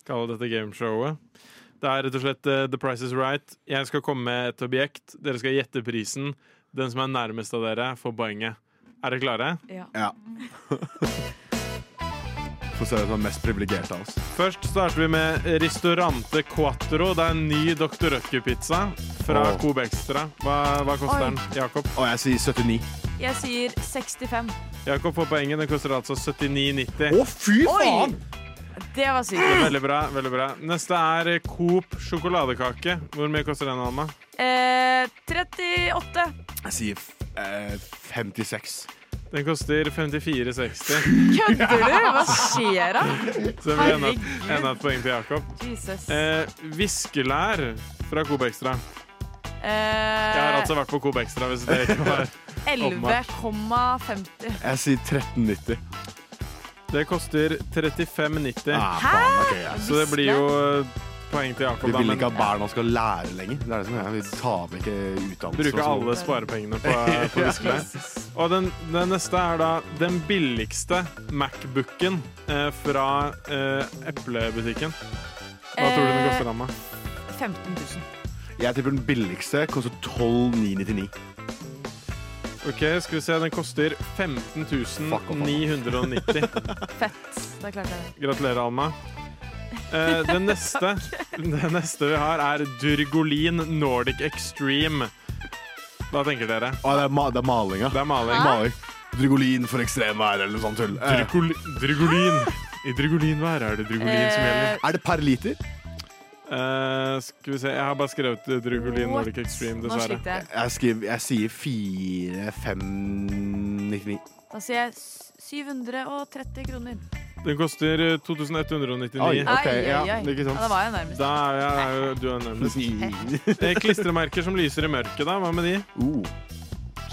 kalle dette gameshowet. Det er rett og slett eh, The Price is Right. Jeg skal komme med et objekt. Dere skal gjette prisen. Den som er nærmest av dere, får poenget. Er dere klare? Ja. Ja. Få se hvem som er mest privilegert av oss. Først starter vi med Ristorante Quattro. Det er en ny Dr. Røkke-pizza fra Åh. Coop Extra. Hva, hva Oi. koster den, Jakob? Og jeg sier 79. Jeg sier 65. Jakob får poenget. Den koster altså 79,90. Å, fy faen! Det var sykt. Veldig bra. veldig bra Neste er Coop sjokoladekake. Hvor mye koster den, Alma? Eh, 38. Jeg sier eh, 56. Den koster 54,60. Kødder du? Hva skjer da? Så det blir enda, enda et poeng til Jakob. Jesus. Eh, viskelær fra Coop Extra. Jeg har Eh, altså vært på Coop Extra, hvis det ikke var åpenbart. 11,50. Jeg sier 1390. Det koster 35,90. Ah, faen, ok, ja. Så det blir jo eh, poeng til Jakob. Vi da, vil men- ikke at barna skal lære lenger. Det er det som er. Vi tar med ikke utdannelse. Bruke og sånn. alle sparepengene på, eh, på viskelær. Og den, den neste er da den billigste Macbooken eh, fra eh, eplebutikken. Hva tror du den Eh, koster, Amma? 15 000. Jeg tipper den billigste koster 12999. Ok, skal vi se. Den koster 15 990. Fett. Da klarte jeg det. Gratulerer, Alma. Eh, det, neste, det neste vi har, er Durgolin Nordic Extreme. Hva tenker dere? Å, det, er ma det er malinga. Det er maling. maling. Drugolin for ekstremvær eller noe sånt tull. Eh, Drugol Drugolin. I Drugolinvær er det Drugolin som Eh. gjelder. Eh, Er det per liter? skal vi se, Jeg har bare skrevet eh, Drugolin What? Nordic Extreme, Nå dessverre. sliter jeg. Jeg, skriver, jeg sier 4599. Mm, Da sier jeg s- 730 kroner. Den koster eh, 2199. Oi, ok, Ai, ja, ai, ai. ikke sant. Ja, da var jeg nærmest. Da er jeg, er jo- du er nærmest. Eh, Klistremerker som lyser i mørket, da. Hva med de?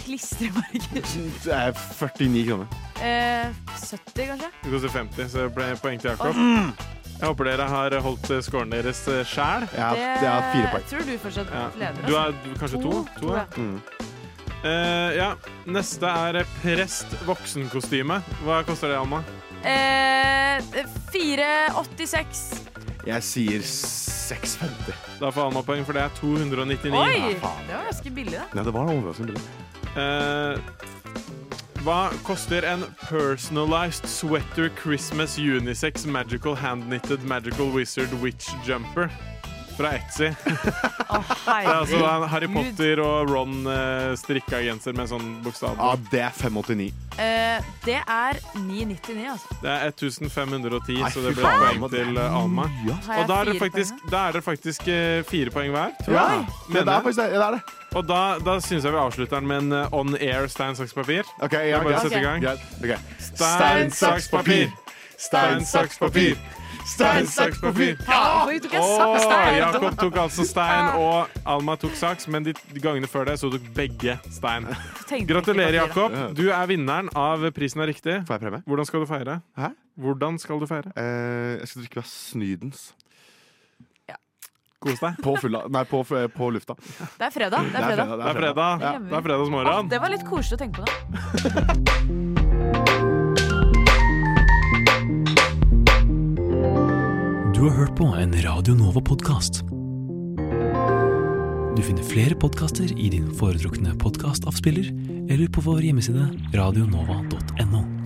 Det er 49 kroner. Eh, 70, kanskje? Det koster 50, så det ble poeng til Jakob. Mm. Jeg håper dere har holdt eh, scoren deres eh, sjæl. Ja, det er fire poeng. Tror du fortsatt Ja. leder? Du altså. er du, kanskje to? To, to ja. Eh, ja. Neste er eh, prest voksenkostyme. Hva koster det, Alma? Eh, 486. Jeg sier 6,50. Da får Alma poeng, for det er 299. Oi! Det var ganske billig, da. Nei, det var overraskende billig. Eh, hva koster en personalized sweater Christmas unisex magical hand-knitted magical wizard witch jumper fra Etsy? det er altså da en Harry Potter og Ron eh, strikka genser med en sånn bokstav på. Ja, det er 589. Eh, det er 999, altså. Det er 1510, Nei, så fy det ble faen, poeng det er til eh, Alma. mye, ass. Og da er Har jeg det fire faktisk, da er det faktisk eh, fire poeng hver. tror Ja, jeg. det Mener er jeg. faktisk det, det er det. Og da, da syns jeg vi avslutter den med en eh, on air stein, saks, papir. Ok, ja, Det er bare å greit. sette i gang. Greit, ok. Stein, saks, papir. Stein, saks, papir. Stein, saks, papir. Ja! Oi, tok jeg saks Åh, der? Jakob tok altså stein, og Alma tok saks, men de gangene før det så tok begge stein. Tenkte Gratulerer, ikke på Jakob. det. Du er vinneren av Prisen er riktig. Får jeg premie? Hvordan skal du feire? Hæ? Hvordan skal du feire? Eh, jeg skal drikke meg snydens. Kos deg. På, fulla, nei, på, på lufta. Det er fredag. Det er fredag. Det er fredag. Ja. Det er fredagsmorgen. Å, det var litt koselig å tenke på, da. Du har hørt på en Radio Nova-podkast. Du finner flere podkaster i din foretrukne podkastavspiller eller på vår hjemmeside radionova.no.